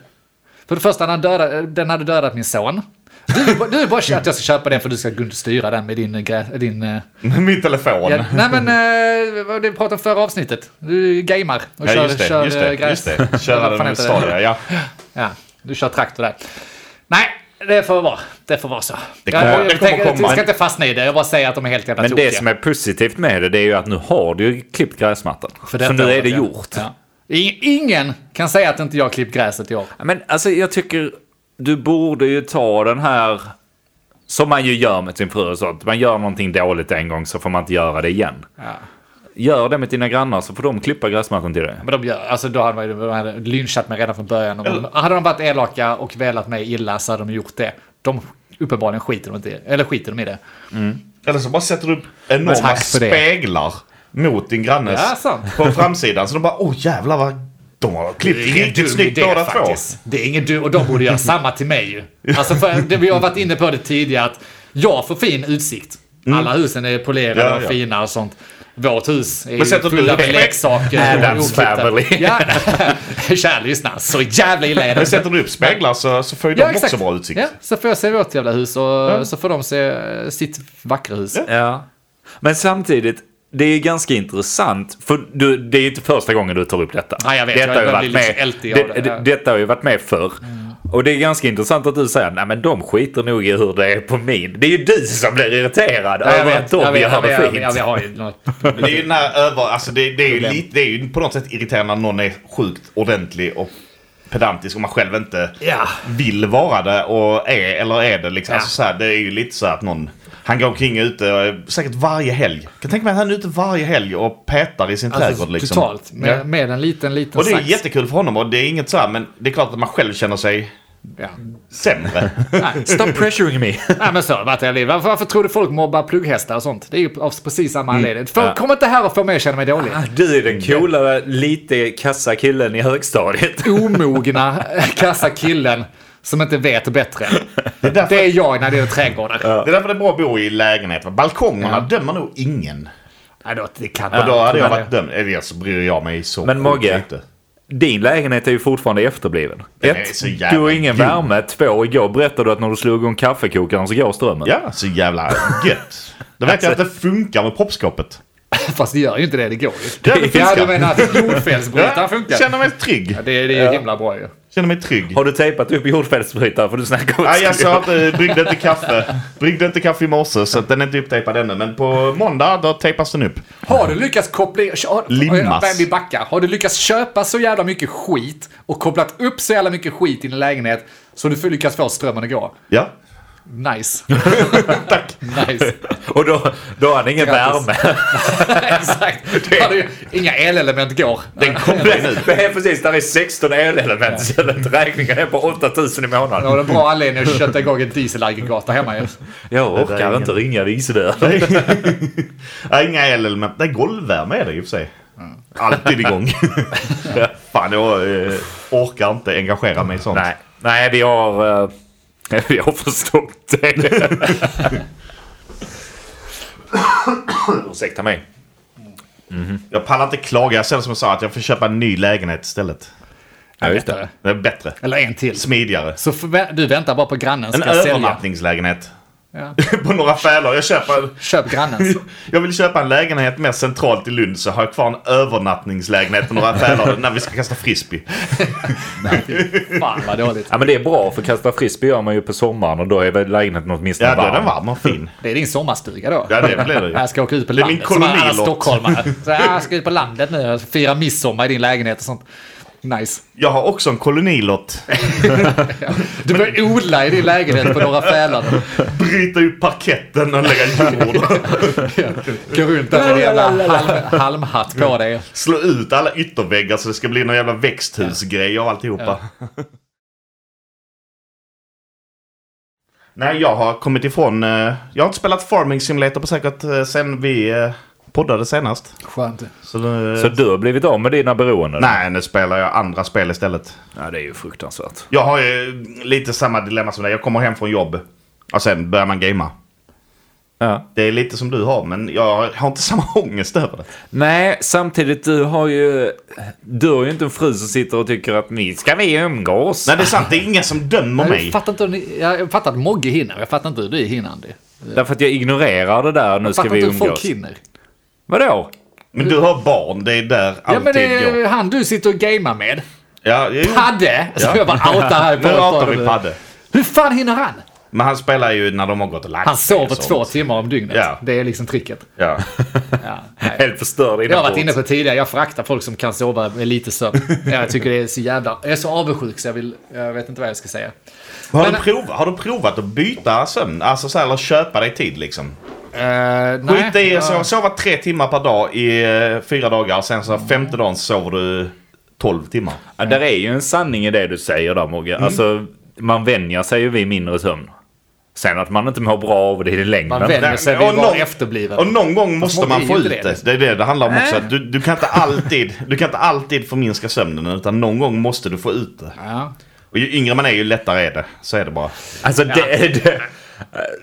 S2: För det första, den, döda, den hade dödat min son. Du, vill bara- du vill bara att jag ska köpa den för du ska kunna styra den med din... Grä, din eh,
S4: *laughs* Min telefon.
S2: ja, nej men, eh, vad det vi pratade om förra avsnittet. Du gamer och
S4: Ja,
S2: kör,
S4: just det.
S2: kör
S4: just
S2: eh,
S4: det,
S2: gräs.
S4: just det.
S2: Vad *laughs*
S4: Köra
S2: fan
S4: den med
S2: heter det?
S4: Stadia, ja.
S2: Ja, du kör traktor där. Nej, det får vara. Det får vara så.
S4: Det kommer-
S2: jag, jag,
S4: det kommer
S2: tänker- jag
S4: komma.
S2: ska inte fastna i det. Jag bara säger att de är helt jävla
S1: Men
S2: tokiga.
S1: det som är positivt med det, det är ju att nu har du ju klippt gräsmattan.
S2: För
S1: så
S2: detta
S1: nu är
S2: året,
S1: det
S2: ja.
S1: gjort.
S2: Ja. I- Ingen kan säga att inte jag har klippt gräset i år.
S1: Men alltså jag tycker du borde ju ta den här som man ju gör med sin fru och sånt. Man gör någonting dåligt en gång så får man inte göra det igen.
S2: Ja.
S1: Gör det med dina grannar så får de klippa gräsmattan till dig.
S2: Men de gör, alltså då hade man ju de hade lynchat mig redan från början. Om
S4: Mm.
S2: de, hade de varit elaka och velat mig illa så hade de gjort det. De uppenbarligen skiter de, inte, i- eller skiter de i det.
S4: Eller så bara sätter du upp enorma
S2: tack för det.
S4: speglar mot din grannes
S2: Ja, sant.
S4: på framsidan. Så de bara, åh jävlar vad... De har klippt riktigt snyggt båda två.
S2: Det är ingen du och de borde göra samma till mig ju. Alltså för, det, vi har varit inne på det tidigare att jag får fin utsikt. Alla husen är polerade
S4: Mm. Ja, ja.
S2: och fina och sånt. Vårt hus är
S4: Men sätter
S2: ju
S4: du
S2: fulla
S4: upp
S2: med
S4: speg-
S2: leksaker. och
S1: Adams
S2: oklippta-
S1: family.
S2: Ja, *laughs* kära lyssnare. Så jävla illa är det.
S4: Men sätter du upp speglar så, så får ju de också bra utsikt.
S2: Ja, så får jag se vårt jävla hus och så får de se eh, sitt vackra hus.
S1: Ja. Men samtidigt, det är ganska intressant. För du, det är ju inte första gången du tar upp detta.
S2: Nej, jag vet.
S1: Detta
S2: Jag
S1: har ju
S2: börjar
S1: varit
S2: bli lite
S1: med,
S2: ältig av
S1: det,
S2: det. Mm.
S1: det, detta har ju varit med förr. Och det är ganska intressant att du säger nej men de skiter nog i hur det är på min. Det är ju du som blir irriterad
S2: Ja,
S1: över att de
S2: jag
S1: gör
S2: jag
S1: det
S2: vet,
S1: fint.
S2: jag vet, jag har ju
S4: *laughs*
S2: något.
S4: Men Det är ju den här över... Alltså det, det, är ju
S2: Problem.
S4: lite, det är ju på något sätt irriterande när någon är sjukt ordentlig och pedantisk och man själv inte
S2: Ja.
S4: vill vara det och är eller är det liksom.
S2: Ja.
S4: Alltså så här, det är ju lite så att någon... Han går omkring ute eh, säkert varje helg. Jag kan tänka mig att han är ute varje helg och petar i sin
S2: Alltså,
S4: trädgård liksom.
S2: Totalt. Med,
S4: Ja.
S2: med en liten, liten
S4: Och det är
S2: sax.
S4: jättekul för honom och det är inget så här, men det är klart att man själv känner sig
S2: Ja. *laughs*
S4: sämre.
S2: Nej,
S1: Stop pressuring me.
S2: nej, men så har det varit hela livet. Varför, varför tror du folk mobbar plugghästar och sånt? Det är ju av precis samma
S4: Mm.
S2: anledning. Folk
S1: Ja.
S2: kommer inte här och får mig att känna mig dålig.
S1: Ah, Du är den coolare, lite kassa killen i
S4: *laughs*
S1: högstadiet.
S2: Omogna, *laughs* kassa killen som inte vet bättre. Det är,
S4: därför-
S2: jag när det gäller trädgårdar.
S4: Det är därför det är bra att bo i lägenhet. va? Balkongerna dömer nog ingen.
S2: Nej, då, det kan
S4: Och då hade jag
S2: men-
S4: varit dömd. Eller så bryr jag mig så
S1: Men
S4: sjukt
S1: Mogge,
S4: lite.
S1: din lägenhet är ju fortfarande efterbliven.
S4: Den är
S1: Ett,
S4: så jävla
S1: du har ingen
S4: grym.
S1: värme. Två, igår berättade du att när du slog igång kaffekokaren så går strömmen.
S4: Ja, så jävla gött. Då vet jag att det funkar med proppskåpet.
S2: *laughs* Fast det gör ju inte det, det går ju.
S4: Ja, det
S2: Ja, du
S4: funkar.
S2: menar att jordfelsbrytaren funkar?
S4: känner mig trygg.
S2: Ja, det, det är himla bra ju.
S4: Känner mig trygg.
S1: Har du tejpat upp jordfelsbrytaren för du snackar om
S4: Nej, jag sa att eh, bryggde inte kaffe. Bryggde inte kaffe i morse så att den är inte upptejpad ännu. Men på måndag då tejpas den upp.
S2: Har du lyckats koppla... har-
S4: Limmas.
S2: Nej, Vi backar. Har du lyckats köpa så jävla mycket skit och kopplat upp så jävla mycket skit i din lägenhet så du får lyckas få strömmen att gå?
S4: Ja. *laughs*
S2: Nice.
S4: Tack.
S2: Nice.
S1: *laughs* Och då, då har han ingen
S2: Grattis.
S1: värme.
S2: *laughs* Exakt. Har du, inga elelement går.
S4: Den kommer nu.
S1: *laughs* Det är precis, där är 16 elelement. Så den räkningen är på 8000 i
S2: Jag har
S1: månaden.
S2: en bra anledning att köta igång en dieselaggregat där hemma ju.
S1: Jag
S4: Det där är
S1: orkar inte ringa Visedöden.
S4: *laughs* Ja, inga element. Nej, golvvärme är det i och för sig.
S1: *laughs*
S4: Alltid igång. Fan, jag eh, orkar inte engagera mig i sånt.
S1: Nej, nej vi har... eh, *laughs* vi har förstått det. Ursäkta mig.
S4: Jag pallar inte klaga. Jag ser det som jag sa, att jag får köpa en ny lägenhet istället.
S1: Ja, just
S2: Bättre.
S4: Det är bättre.
S2: Eller en till.
S4: Smidigare.
S2: Så förvä- du väntar bara på grannen
S4: En
S2: ska sälja.
S4: övernattningslägenhet. *laughs*
S2: Ja.
S4: på några fälor. Jag köper...
S2: Köp grannens.
S4: Jag vill köpa en lägenhet mer centralt i Lund så har jag kvar en övernattningslägenhet på några
S2: *laughs*
S4: fälor när vi ska kasta frisbee.
S2: Fan vad dåligt.
S1: Ja men det är bra för kasta frisbee gör man ju på sommaren och då är väl lägenheten åtminstone
S4: Ja, då är
S1: varm.
S4: den varm och fin.
S2: Det är din sommarstuga då?
S4: Ja, det blir det ju.
S2: Jag ska åka ut på
S4: Det är min
S2: landet som alla
S4: kolonilott. *laughs*
S2: stockholmare. Så här, jag ska ut på landet nu och fira midsommar i din lägenhet och sånt. Nice.
S4: Jag har också en kolonilott.
S2: Du börjar odla i din lägenhet på några fälar.
S4: Bryta ut parketten och lägga jord.
S2: Gå runt där med en jävla halm, halmhatt på dig.
S4: Slå ut alla ytterväggar så det ska bli någon jävla växthusgrej och alltihopa. *laughs* Nej, jag har kommit ifrån... eh, Jag har inte spelat Farming Simulator på säkert eh, sen vi eh, poddade senast.
S2: Skönt.
S4: Så eh, nu,
S1: Så du har blivit av med dina beroenden?
S4: Nej, nu spelar jag andra spel istället.
S1: Ja, det är ju fruktansvärt.
S4: Jag har ju lite samma dilemma som dig. Jag kommer hem från jobb och sen börjar man gamea.
S1: Ja.
S4: Det är lite som du har, men jag har inte *laughs* samma ångest över det.
S1: Nej, samtidigt du har ju... Du har ju inte en fru som sitter och tycker att ni ska vi umgås.
S4: Nej, det är sant. Det är ingen som dömer
S2: Jag
S4: mig.
S2: fattar inte hur ni, jag fattar att Mogge hinner, jag fattar inte hur du hinner Andy.
S1: Därför att jag ignorerar det där, nu ska
S2: Fattar
S1: vi
S2: inte hur
S1: umgås.
S2: folk hinner.
S1: Vadå?
S4: Men du har barn. Det är där
S2: Ja men
S4: allting
S2: det är
S4: går.
S2: han du sitter och gamear med.
S4: Ja, jo.
S2: Padde! Så jag bara outar här
S4: *laughs* Nu outar vi Padde.
S2: Hur fan hinner han?
S4: Men han spelar ju när de har gått och lagt
S2: Han
S4: sig och
S2: sover
S4: sånt.
S2: två timmar om dygnet.
S4: Ja.
S2: Det är liksom
S4: *laughs*
S2: tricket. *laughs*
S4: Ja.
S2: Ja, nej.
S1: Helt förstörd
S2: Jag har varit
S1: inombords.
S2: inne på det tidigare, jag föraktar folk som kan sova med lite
S4: *laughs*
S2: sömn. Jag tycker det är så jävla... Jag är så avundsjuk så jag vill... Jag vet inte vad jag ska säga.
S4: Har,
S2: Men-
S4: du provat, har du provat att byta sömn? Alltså så här, eller köpa dig tid liksom?
S2: Eh, nej,
S4: Skit i
S2: jag-
S4: att sova- sova tre timmar per dag i eh, fyra dagar. Sen så femte dagen sover du tolv timmar.
S1: Ja, där är ju en sanning i det du säger där Mogge.
S2: Mm.
S1: Alltså, man vänjer sig ju vid mindre sömn. Sen att man inte mår bra av det i längden.
S2: Man vänjer
S4: Nej,
S2: sig
S4: och
S2: vid att vara
S4: någon-
S2: efterbliven.
S4: Och någon gång måste
S2: Fast
S4: man
S2: Mogge
S4: få
S2: är
S4: ut
S2: ju inte
S4: det.
S2: det.
S4: Det är det det handlar om också. Att Du, du, kan inte alltid, du kan inte alltid förminska sömnen utan någon gång måste du få ut det.
S2: Ja.
S4: Och ju yngre man är ju lättare är det. Så är det bara.
S1: Alltså det, det,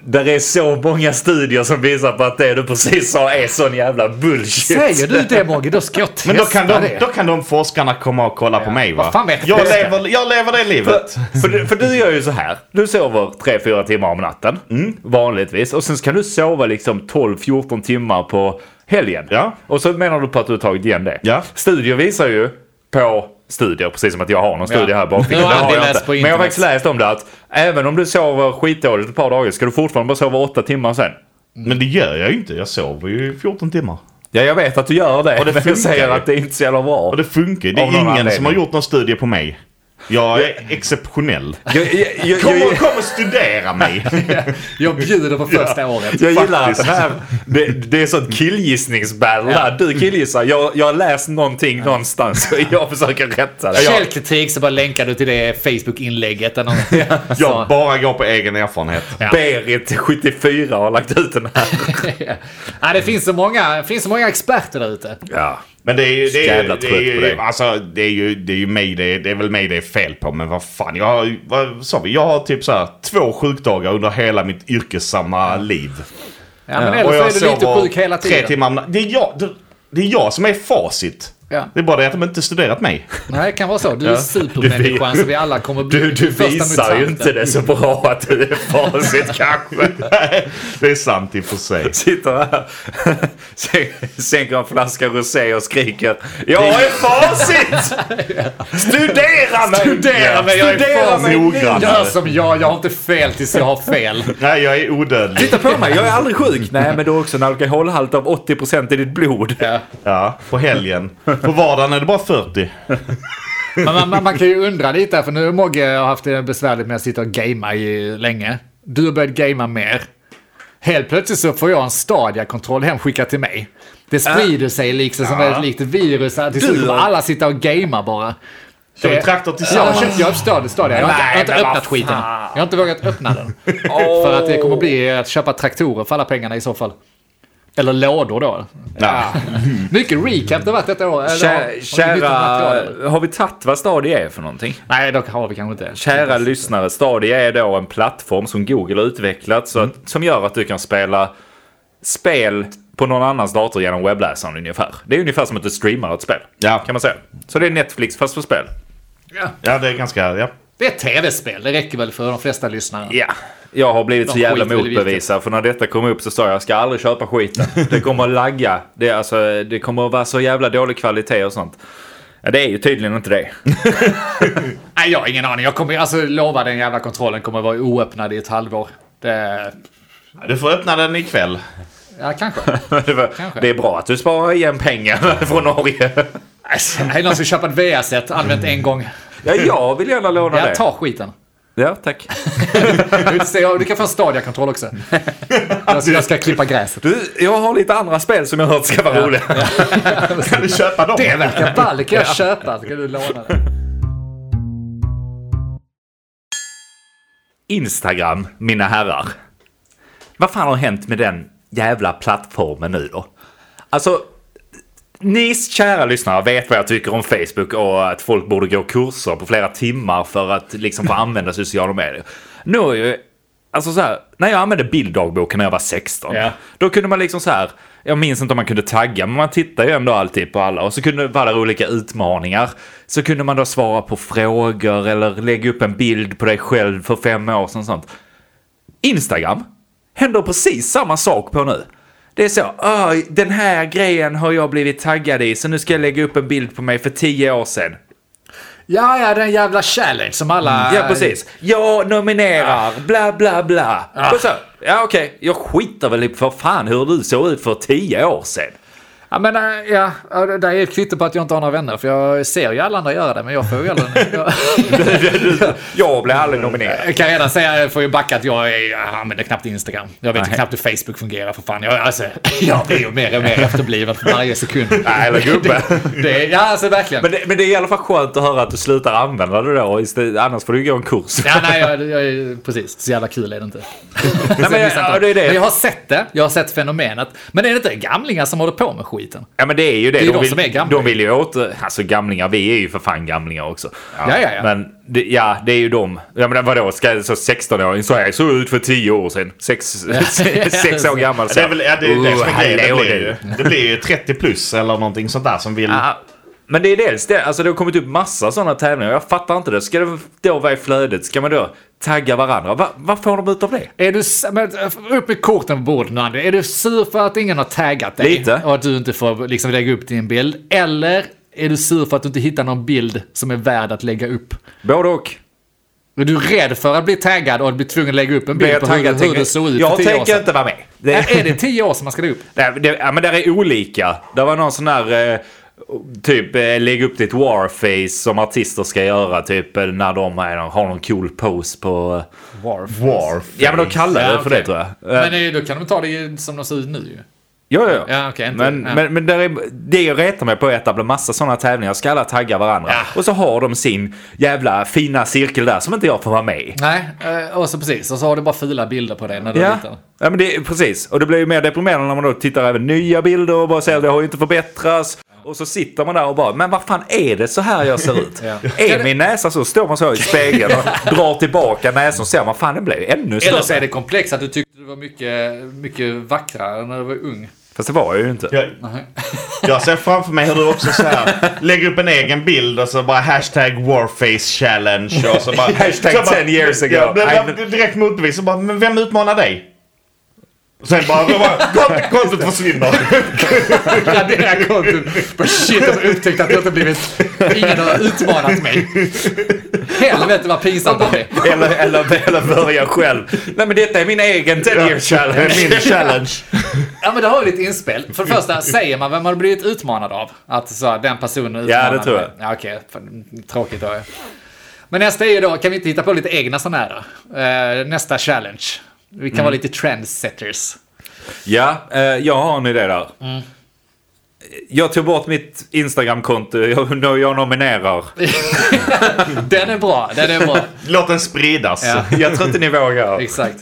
S1: där är så många studier som visar på att det du precis sa är sån jävla bullshit.
S2: Säger du det Mogge, då ska jag testa
S4: Men då kan, de,
S2: det.
S4: då kan de forskarna komma och kolla på mig va?
S2: Vad fan vet
S4: jag,
S2: jag?
S4: lever, jag lever det livet.
S1: För, för, du, för du gör ju så här. Du sover 3-4 timmar om natten. Vanligtvis. Och sen kan du sova liksom 12-14 timmar på helgen.
S4: Ja.
S1: Och så menar du på att du har tagit igen det.
S4: Ja.
S1: Studier visar ju på studier, precis som att jag har någon studie
S2: Ja.
S1: här *laughs* bakom.
S2: Nu har Andy läst på
S1: Men jag har
S2: internet.
S1: faktiskt läst om det att även om du sover skitdåligt ett par dagar ska du fortfarande bara sova 8 timmar sen.
S4: Men det gör jag ju inte. Jag sover ju 14 timmar.
S1: Ja, jag vet att du gör det.
S4: Och det
S1: men jag
S4: funkar
S1: säger
S4: ju.
S1: att det är inte så jävla bra.
S4: Och det funkar ju. Det är
S1: Av någon
S4: ingen som har
S1: anledning.
S4: gjort någon studie på mig. Jag är exceptionell.
S1: Jag, jag, jag,
S4: Kom
S1: jag,
S4: och, kom och studera mig!
S2: Jag bjuder på
S4: *laughs*
S2: första året.
S1: jag gillar att
S4: faktiskt.
S1: det här, det, det är sånt killgissningsbattle. här. Du killgissar, jag, jag har läst någonting någonstans *laughs* och jag försöker rätta det. Jag,
S2: Källkritik så bara länkar du till det Facebook-inlägget. eller något. *laughs*
S4: Jag
S2: Så-
S4: bara går på egen erfarenhet.
S1: Berit, 74, har lagt ut den här.
S2: ja, det finns så många, det finns så många experter där ute.
S1: Ja.
S4: Men det är ju... Det är, ju-
S1: Jävla
S4: det
S1: trött
S4: är,
S1: på
S4: ju,
S1: dig.
S4: alltså, det är ju, det är ju mig det är, det är väl mig det är fel på, men vad fan. Jag har, ju- vad sa vi? Jag har typ så här två sjukdagar under hela mitt yrkessamma liv.
S2: Ja, men eller så är du lite
S4: sover
S2: sjuk hela
S4: Tre
S2: tiden.
S4: timmar om na- det, är jag, det, det är jag som är facit.
S2: Ja.
S4: Det är bara det att de inte
S2: *laughs*
S4: studerat mig.
S2: Nej, det kan vara så. Du är supermänniskan så vi alla kommer bli
S1: Du, du
S2: första
S1: visar ju
S2: mutanten.
S1: inte det så bra att du är facit kanske.
S4: det är sant i och för sig.
S1: Sitter här, sän- sänker en flaska rosé och skriker Jag är *laughs* facit! Studera mig!
S2: Studera mig, jag är
S1: Studera mig!
S4: Noggrannare.
S2: Gör som jag, jag har inte fel tills jag har fel.
S4: Nej, jag är odödlig.
S1: Titta på mig, jag är aldrig sjuk. Nej, men du har också en alkoholhalt av 80% i ditt blod.
S4: Ja, på helgen. På vardagen är det bara 40.
S2: Men man, man, man kan ju undra lite, här, för nu har Mogge har haft det besvärligt med att sitta och gamea i, länge. Du har börjat gamea mer. Helt plötsligt så får jag en Stadia-kontroll hemskickad till mig. Det
S1: Äh.
S2: sprider sig liksom som ett likt virus. här. Till slut kommer alla sitta och gamea bara.
S4: Kör vi
S2: Det-
S4: traktor
S2: Jag har
S4: tillsammans?
S2: köpt, jag har köpt Stadia, jag har inte, jag har inte
S1: Nej, men
S2: öppnat
S1: vad
S2: skiten. Jag har inte vågat öppna den. För att det kommer bli att köpa traktorer för alla pengarna i så fall. Eller lådor då.
S4: Ja.
S2: Mycket recap det har varit detta år. Eller, har- har
S1: Kära,
S2: ni bytt Typ material?
S1: har vi tagit vad Stadia är för någonting?
S2: Nej, dock har vi kanske inte.
S1: Kära lyssnare, Stadia är då en plattform som Google har utvecklat så
S2: Mm.
S1: att, som gör att du kan spela spel på någon annans dator genom webbläsaren ungefär. Det är ungefär som att du streamar ett spel.
S4: Ja.
S1: Kan man säga. Så det är Netflix fast för spel.
S4: ja, det är ganska... Ja.
S2: Det är ett tv-spel, det räcker väl för de flesta lyssnare.
S1: Ja. Jag har blivit så
S2: Ja,
S1: jävla
S2: skit i det
S1: motbevisad för när detta kom upp så sa jag jag ska aldrig köpa
S2: *laughs*
S1: skiten. Det kommer att lagga. Det, är alltså, det kommer att vara så jävla dålig kvalitet och sånt. Ja, det är ju tydligen inte det.
S2: Nej, jag har ingen aning. Jag kommer, alltså lova den jävla kontrollen kommer vara oöppnad i ett halvår. Det,
S4: Du får öppna den ikväll.
S2: ja,
S1: *laughs*
S2: kanske.
S1: Det, var,
S2: Kanske.
S1: det är bra att du sparar igen pengar *laughs* från Norge.
S2: Alltså, är det någon som köper ett VR-set, använt en gång.
S1: Ja, jag vill gärna låna det.
S2: Jag tar skiten.
S1: Ja, tack.
S2: Du kan få en Stadia-kontroll också.
S1: *laughs*
S2: Jag ska, jag ska klippa gräset.
S1: Du, jag har lite andra spel som jag hört ska vara roliga.
S4: Kan du köpa dem?
S2: Det verkar ball. Det kan jag köpa. Så kan du låna det.
S1: Instagram, mina herrar. Vad fan har hänt med den jävla plattformen nu då? Alltså, ni kära lyssnare vet vad jag tycker om Facebook och att folk borde gå kurser på flera timmar för att liksom få använda sociala medier. Nu är ju, alltså så här, när jag använde bilddagboken när jag var 16,
S2: Ja.
S1: då kunde man liksom så här, jag minns inte om man kunde tagga, men man tittade ju ändå alltid på alla och så kunde det vara olika utmaningar. Så kunde man då svara på frågor eller lägga upp en bild på dig själv för fem år sedan och sånt. Instagram händer precis samma sak på nu. Det är så, "Åh, den här grejen har jag blivit taggad i så nu ska jag lägga upp en bild på mig för tio år sedan.
S2: Ja, ja, den jävla challenge som alla...
S1: Mm. Ja, precis. Jag nominerar, bla bla bla. Och så, ja okej, jag skiter väl i för fan hur du såg ut för tio år sedan. *laughs*
S2: Ja, men äh, ja, ja, det där är ett kvitto på att jag inte har några vänner. För jag ser ju alla andra göra det, men jag får ju aldrig...
S1: *laughs*
S2: Jag,
S1: Jag blev aldrig nominerad.
S2: jag kan redan säga, jag får ju backa, att jag, är, jag använder knappt Instagram. Jag vet ju
S1: Nej.
S2: knappt hur Facebook fungerar, för fan. Jag, alltså, *laughs* jag blir ju mer och mer efterbliven för varje sekund.
S1: *laughs* Nej, eller gubbe.
S2: *laughs* Det, är- ja, alltså verkligen.
S1: Men det, men det är i alla fall skönt att höra att du slutar använda det då, istället- annars får du gå en kurs.
S2: Ja, nej, jag, jag, är- precis. Så jävla kul är det
S1: *laughs*
S2: inte. *laughs*
S1: Nej, men, ja, det är det.
S2: Men jag har sett det, jag har sett fenomenet. Men är det inte gamlingar som håller på med skiten?
S1: Ja men det är ju det.
S2: är de
S1: vill,
S2: som är gamlingar.
S1: De vill ju åter... Alltså gamlingar, vi är ju för fan gamlingar också.
S2: Ja, ja, ja.
S1: Men det, ja, det är ju de. Ja men vadå, ska så 16-åring, så jag såg ut för 10 år sedan.
S2: *laughs*
S1: Sex, sex år gammal.
S4: Det är väl ja, det, är det som
S1: Oh,
S4: är grejen. Det
S1: hallå,
S4: blir, ju, det blir ju 30 plus eller någonting sånt där som vill...
S1: Ja, men det är dels det, alltså det har kommit upp massa sådana tävlingar. Jag fattar inte det. Ska det då vara i flödet? Ska man då tagga varandra? Va, vad får de ut av det?
S2: Är du, s- men, eh, upp med korten på bordet nu, Andy. Är du sur för att ingen har taggat dig?
S1: Lite.
S2: Och att du inte får liksom, lägga upp din bild? Eller är du sur för att du inte hittar någon bild som är värd att lägga upp?
S1: Både och.
S2: Är du rädd för att bli taggad och att bli tvungen att lägga upp en bild
S1: Jag,
S2: på hur,
S1: taggad,
S2: hur
S1: tänker,
S2: du såg ut
S1: jag
S2: för tio år
S1: tänker
S2: sedan?
S1: inte vara med. Det,
S2: Är är det tio år som man ska lägga upp?
S1: Nej, det, ja, men det är olika. Det var någon sån där eh, typ eh, lägg upp ditt warface som artister ska göra typ eh, när de är, har någon cool pose på... eh,
S2: Warf.
S4: Warf.
S1: Ja men de kallar det
S2: Ja,
S1: för
S2: okej.
S1: det tror jag. Eh,
S2: Men eh, då kan de ta det ju som de ser ut nu ju.
S1: ja, ja.
S2: Ja, okej, inte-
S1: men,
S2: ja.
S1: men, men där är, det jag retar mig på är att det blir massa sådana tävlingar. Ska alla tagga varandra?
S2: Ja.
S1: Och så har de sin jävla fina cirkel där som inte jag får vara med i.
S2: Nej, eh, och så precis. Och så har du bara fula bilder på dig när du är
S1: Ja.
S2: liten.
S1: ja, men det, precis. Och det blir ju mer deprimerande när man då tittar även nya bilder och bara ser att det har ju inte förbättrats. Och så sitter man där och bara, men vad fan är det så här jag ser *laughs* ut?
S2: Ja.
S1: Är min näsa så? Står man så i spegeln *laughs* och drar tillbaka näsan och ser man, fan den blev ju ännu större.
S2: Eller så är det komplext att du tyckte du var mycket, mycket vackrare när du var ung.
S1: Fast det var jag ju inte.
S4: Jag, jag ser framför mig hur du också så här, lägger upp en egen bild och så bara hashtag warface challenge och så bara...
S1: *laughs* Hashtag
S4: så bara,
S1: 10 years ago.
S4: Ja, det- det- direkt motbevis och bara, men vem utmanar dig? Och sen bara, bara
S1: *laughs*
S4: kont- kontot försvinner.
S2: *laughs* Ja, det är kontot. Bara shit, jag har upptäckt att jag inte blivit... Ingen har utmanat *laughs* mig. Helvete vad pinsamt av mig.
S1: Eller, eller, eller börja själv. Nej men detta är min egen 10 year
S4: Det
S1: challenge.
S4: är min challenge.
S2: Ja, men det har ju lite inspel. För det första, säger man vem man har blivit utmanad av? Att så, här, den personen utmanade
S1: det tror jag.
S2: mig. Ja, okej. Fan, Tråkigt då. ja. Men nästa är ju då, kan vi inte hitta på lite egna sådana här då? Eh, Nästa challenge. Vi kan
S1: Mm.
S2: vara lite trendsetters.
S1: Ja, eh, jag har en idé där. Jag tog bort mitt Instagram-konto, jag, jag nominerar.
S2: Den är bra, den är bra.
S1: *laughs*
S4: Låt den spridas.
S2: Ja.
S1: Jag tror inte ni vågar.
S2: Exakt.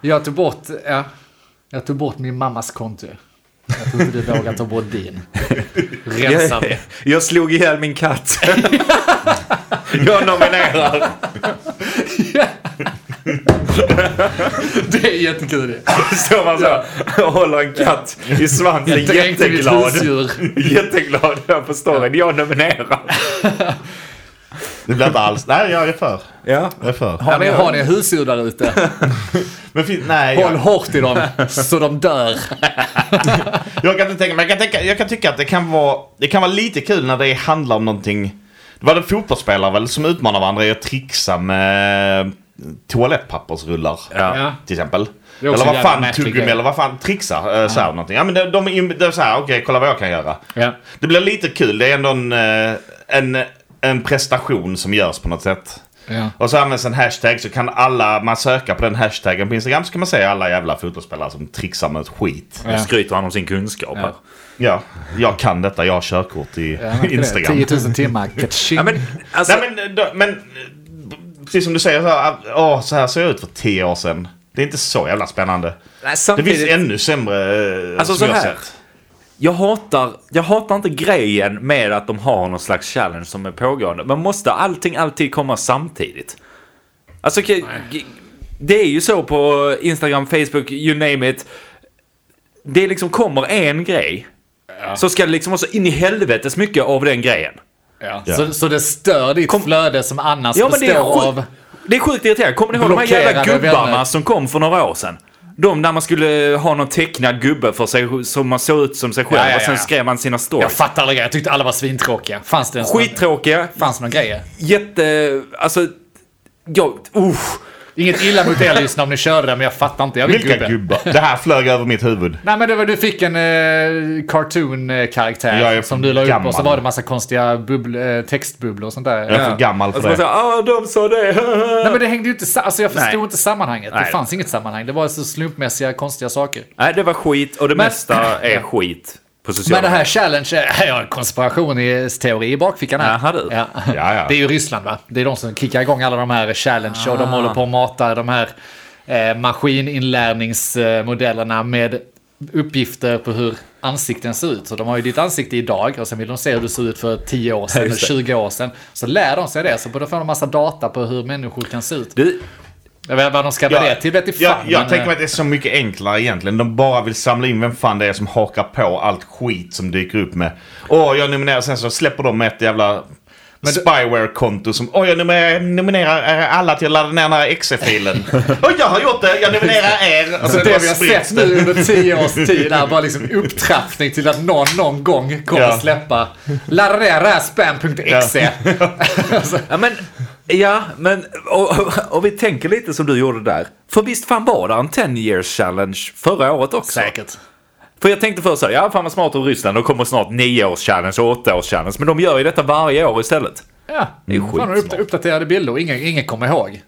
S2: Jag tog bort, ja, jag tog bort min mammas konto. Jag tror inte du vågar ta
S1: *laughs*
S2: bort din. Rensa.
S1: Jag, *laughs* jag slog ihjäl min *laughs* katt. jag nominerar.
S2: Det är jättekul.
S1: Står man så och håller en katt i svansen
S2: Jag dränkte mitt
S1: *laughs* jätteglad.
S2: husdjur.
S1: Jätteglad jag förstår det. Jag nominerar.
S4: Det blir inte alls... Nej, jag är för.
S1: Ja.
S4: Jag är för.
S2: Ja, men har ni husdjur där ute,
S4: Men fin- nej,
S2: håll
S4: jag,
S2: hårt i dem så de dör.
S4: jag kan inte tänka... Men jag kan, tänka, jag kan tycka att det kan, vara, det kan vara lite kul när det handlar om någonting... Det var det fotbollsspelare väl som utmanar varandra i att trixa med toalettpappersrullar.
S1: Ja.
S4: till exempel.
S2: Det är också
S4: Eller
S2: en
S4: vad
S2: jävla
S4: fan,
S2: märklig
S4: tuggummi
S2: grej.
S4: eller vad fan, trixa. Eh, så här någonting. Ja men de, de, är- det är så här, okej kolla vad jag kan göra.
S2: Ja.
S4: Det blir lite kul, det är ändå en, eh, en, en prestation som görs på något sätt.
S2: Ja.
S4: Och så används en hashtag så kan alla, man söka på den hashtaggen på Instagram så kan man se alla jävla fotbollsspelare som trixar med skit.
S1: Nu skryter han om sin kunskap här.
S4: Ja, jag kan detta, jag har körkort i Instagram.
S2: 10 000 *laughs* timmar.
S1: Ja, men, alltså,
S4: Nej, men, då, men eh, precis som du säger, så här, åh, så här såg jag ut för tio år sedan. Det är inte så jävla spännande.
S1: nej,
S4: Det
S1: samtidigt,
S4: finns ännu sämre eh,
S1: Alltså,
S4: som
S1: så
S4: jag har
S1: här.
S4: sett.
S1: jag, hatar, jag hatar inte grejen med att de har någon slags challenge som är pågående. Men måste allting alltid komma samtidigt? Alltså, okej, g- det är ju så på Instagram, Facebook, you name it. Det liksom kommer en grej. Så ska det liksom också in i helvetes mycket av den grejen.
S2: Ja. Så, så det stör ditt flöde som annars
S1: Ja, men det är,
S2: består
S1: sjukt,
S2: av...
S1: det är sjukt irriterande. Kommer ni ihåg de här jävla
S2: Blockerade
S1: gubbarna
S2: vänner.
S1: som kom för några år sedan? De där man skulle ha någon tecknad gubbe för sig som man såg ut som sig själv
S2: Ja, ja, ja,
S1: och sen
S2: ja.
S1: skrev man sina
S2: Jag
S1: stories.
S2: fattar aldrig grejen. Jag tyckte alla var svintråkiga. Fanns det ens någon,
S1: Skittråkiga,
S2: fanns någon grej?
S1: jätte... Alltså... Jag, usch.
S2: Inget illa mot er lyssnare om ni körde det, men jag fattar inte. Jag vill
S4: Vilka gubbar? Det här flög över mitt huvud.
S2: Nej men det var, du fick en eh,
S4: Jag är
S2: cartoon-karaktär som du la upp
S4: gammal.
S2: och så var det massa konstiga bubbl, eh, textbubblor och sånt där.
S4: Jag är för gammal
S1: Alltså
S4: för
S1: man
S4: det.
S1: säger ah de sa det.
S2: Nej men det hängde ju inte sa- Alltså jag förstod
S1: Nej.
S2: inte sammanhanget.
S1: Nej.
S2: Det fanns inget sammanhang. Det var så slumpmässiga konstiga saker.
S1: Nej, det var skit och det mesta är skit på sociala
S2: Men det
S1: medier.
S2: här challenge, eh, jag har en konspirationsteori i bakfickan här.
S1: Jaha, du.
S2: Ja.
S4: Ja, ja.
S2: Det är ju Ryssland va? Det är de som kickar igång alla de här challenge
S1: Ah.
S2: och de håller på att mata de här eh, maskininlärningsmodellerna med uppgifter på hur ansikten ser ut. Så de har ju ditt ansikte idag och sen vill de se hur du ser ut för 10 år sedan,
S1: Just det.
S2: 20 år sedan. Så lär de sig det, så då får de massa data på hur människor kan se ut.
S1: Du,
S2: Jag vet inte vad de ska med det till, vet inte
S4: jag,
S2: fan.
S4: jag
S2: men,
S4: tänker
S2: eh,
S4: mig att det är så mycket enklare egentligen. De bara vill samla in vem fan det är som hakar på allt skit som dyker upp med. Åh, jag nominerar. Sen så släpper de ett jävla spyware-konto som åh, jag nominerar, nominerar eh, alla till att ladda ner den här *laughs* exe-filen. och jag har gjort det, jag nominerar
S2: *laughs*
S4: er. Och
S2: Så
S4: sen
S2: det
S4: bara
S2: vi har
S4: sprids
S2: sett
S4: det.
S2: nu under tio års tid är bara liksom upptrappning till att någon någon gång kommer
S4: Ja.
S2: att släppa ladda ner det här spam.exe. *laughs* Alltså,
S1: Ja, men, ja, men och, och, och vi tänker lite som du gjorde där. För visst fan var det en 10 years challenge förra året också?
S2: Säkert.
S1: För jag tänkte först så här, ja fan vad smart av Ryssland, då kommer snart 9 års challenge och 8 års challenge. Men de gör ju detta varje år istället.
S2: Ja,
S1: Det är
S2: fan,
S1: skitsmart.
S2: upp, uppdaterade bilder och ingen, ingen kommer ihåg.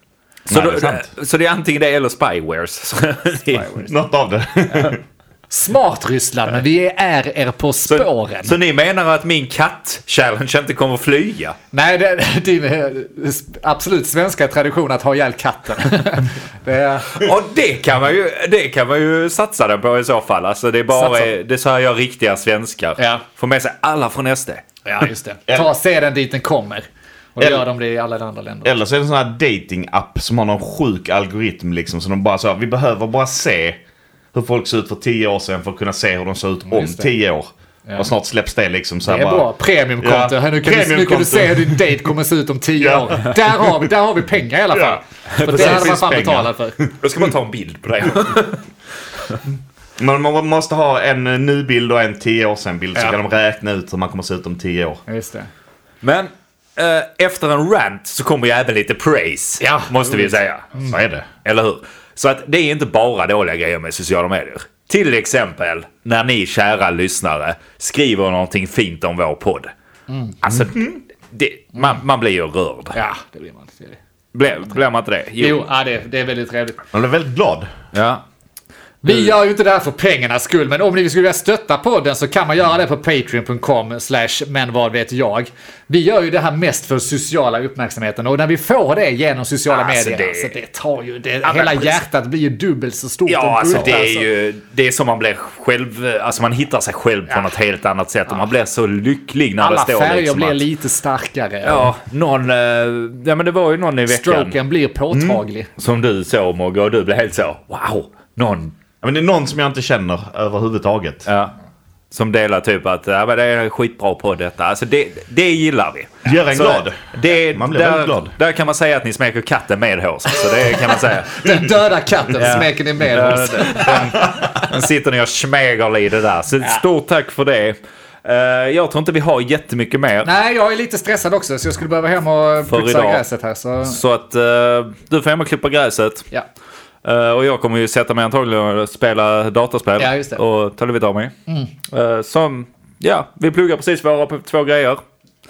S1: Så,
S4: Nej,
S1: då,
S4: det är sant.
S1: så det är antingen det eller spywares. *laughs* spywares.
S4: Något av det. *laughs*
S2: Smart Ryssland, men vi är er på
S1: Så,
S2: spåren.
S1: så ni menar att min katt-challenge inte kommer att flyga?
S2: Nej, det är din eh, absolut svenska tradition att ha ihjäl katten. *laughs* det är,
S1: Och det kan man ju, det kan man ju satsa den på i så fall. Alltså det är bara,
S2: Satsa.
S1: det är så här gör riktiga svenskar.
S2: Ja.
S1: Får med sig alla från SD.
S2: ja, just det. Ta sedan dit den kommer. Och
S4: Eller-
S2: gör de det i alla andra länder.
S4: Eller så är det en sån här dating-app som har någon sjuk algoritm liksom. Så de bara så här, vi behöver bara se hur folk ser ut för tio år sedan för att kunna se hur de ser ut om
S2: just det.
S4: tio år. Och snart släpps det liksom så här
S2: Det är
S4: bara.
S2: bra. Premiumkonto. Nu,
S4: Ja,
S2: kan du, nu kan
S4: premiumkonto.
S2: du se hur din date kommer se ut om tio
S4: Ja.
S2: år. Där har, vi, där har vi pengar i alla
S1: *laughs*
S2: fall.
S4: Ja.
S2: För det
S4: Precis,
S2: hade man
S4: finns
S2: fan
S4: pengar.
S2: betalat för.
S1: Då ska man ta en bild på *laughs* det.
S4: Men man måste ha en eh, nybild och en tio år sedan bild så kan de räkna ut hur man kommer se ut om tio år.
S2: Just det.
S1: Men eh, efter en rant så kommer ju även lite praise.
S2: Ja. Mm.
S1: måste vi säga.
S4: Så är det.
S1: Eller hur? Så att det är inte bara dåliga grejer med sociala medier. Till exempel när ni kära lyssnare skriver någonting fint om vår podd. Alltså, det, man, man blir ju rörd.
S2: Mm. Ja, det blir man. Det är det.
S1: Blir, blir man inte det?
S2: Jo, ja, det, det är väldigt trevligt.
S4: Man blir väldigt glad.
S1: Ja.
S2: Vi gör ju inte det här för pengarnas skull, men om ni skulle vilja stötta podden så kan man göra det på patreon.com slash men vad vet jag. Vi gör ju det här mest för sociala uppmärksamheten och när vi får det genom sociala
S1: Alltså,
S2: medier,
S1: det-
S2: alltså det tar ju, det,
S1: men
S2: hela
S1: precis.
S2: hjärtat blir ju dubbelt så stort. och
S1: Ja, alltså
S2: brutalt,
S1: det
S2: alltså.
S1: är ju det är som man blir själv, alltså man hittar sig själv på något helt annat sätt och man blir så lycklig när
S2: Alla
S1: det står
S2: färger
S1: liksom
S2: blir
S1: att,
S2: lite starkare.
S1: Ja, någon, eh, ja men det var ju någon i veckan
S2: Stroken blir påtaglig.
S1: som du såg Mogge och du blev helt så wow, någon,
S4: Ja, Men det är någon som jag inte känner överhuvudtaget.
S1: ja. Som delar typ att ja, men det är en skitbra på detta. Alltså det, det gillar vi.
S4: Gör en
S1: Så
S4: glad.
S1: Det,
S4: Man blir
S1: där,
S4: väldigt glad.
S1: Där kan man säga att ni smeker katten med hårs. Så det kan man säga.
S2: Mm. Den döda katten smeker ni med
S1: Ja,
S2: oss.
S1: det- Den sitter ni och smäger i det där. Så stort tack för det. Eh, jag tror inte vi har jättemycket mer.
S2: Nej, jag är lite stressad också så jag skulle behöva hem och
S1: För
S2: putsa
S1: idag.
S2: gräset här. Så,
S1: Så att eh, du får hem och klippa gräset.
S2: ja.
S1: Eh, och jag kommer ju sätta mig antagligen och spela dataspel.
S2: Ja, just det. Mm.
S1: Och ta livet av mig. Eh, som, ja, vi pluggar precis våra p- två grejer.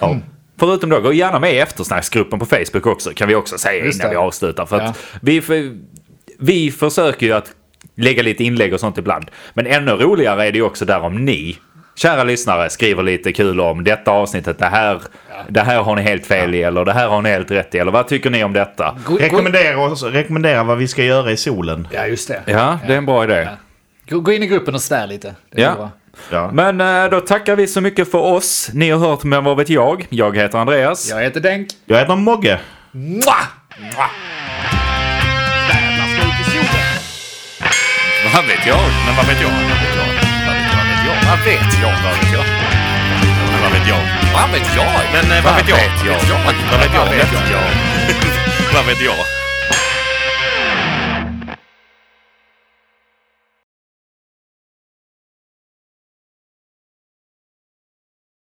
S1: Ja. Förutom då, gå gärna med i eftersnacksgruppen på Facebook också. Kan vi också säga
S2: Just
S1: innan
S2: det.
S1: vi avslutar. För
S2: Ja.
S1: att vi, f- vi försöker ju att lägga lite inlägg och sånt ibland. Men ännu roligare är det ju också där om ni, kära lyssnare, skriver lite kul om detta avsnittet. Det här, det här har ni helt fel i eller det här har ni helt rätt i. Eller vad tycker ni om detta?
S2: Gå- gå-
S4: Rekommendera, oss, rekommendera vad vi ska göra i solen.
S2: Ja, just det.
S1: Ja, det är en bra idé.
S2: Gå- Gå in i gruppen och svär lite. Det är
S1: Ja.
S2: bra.
S4: Ja.
S1: Men eh, då tackar vi så mycket för oss. Ni har hört Men vad vet jag? Jag heter Andreas.
S2: Jag heter Denk.
S4: Jag heter Mogge.
S2: Mwah!
S1: Vad vet jag? Men vad vet jag? Vad vet jag? Vad vet jag? Vad vet jag? eh, Vad vet jag? Men vad vet jag? Vad vet jag? Vad vet jag? Vad vet jag?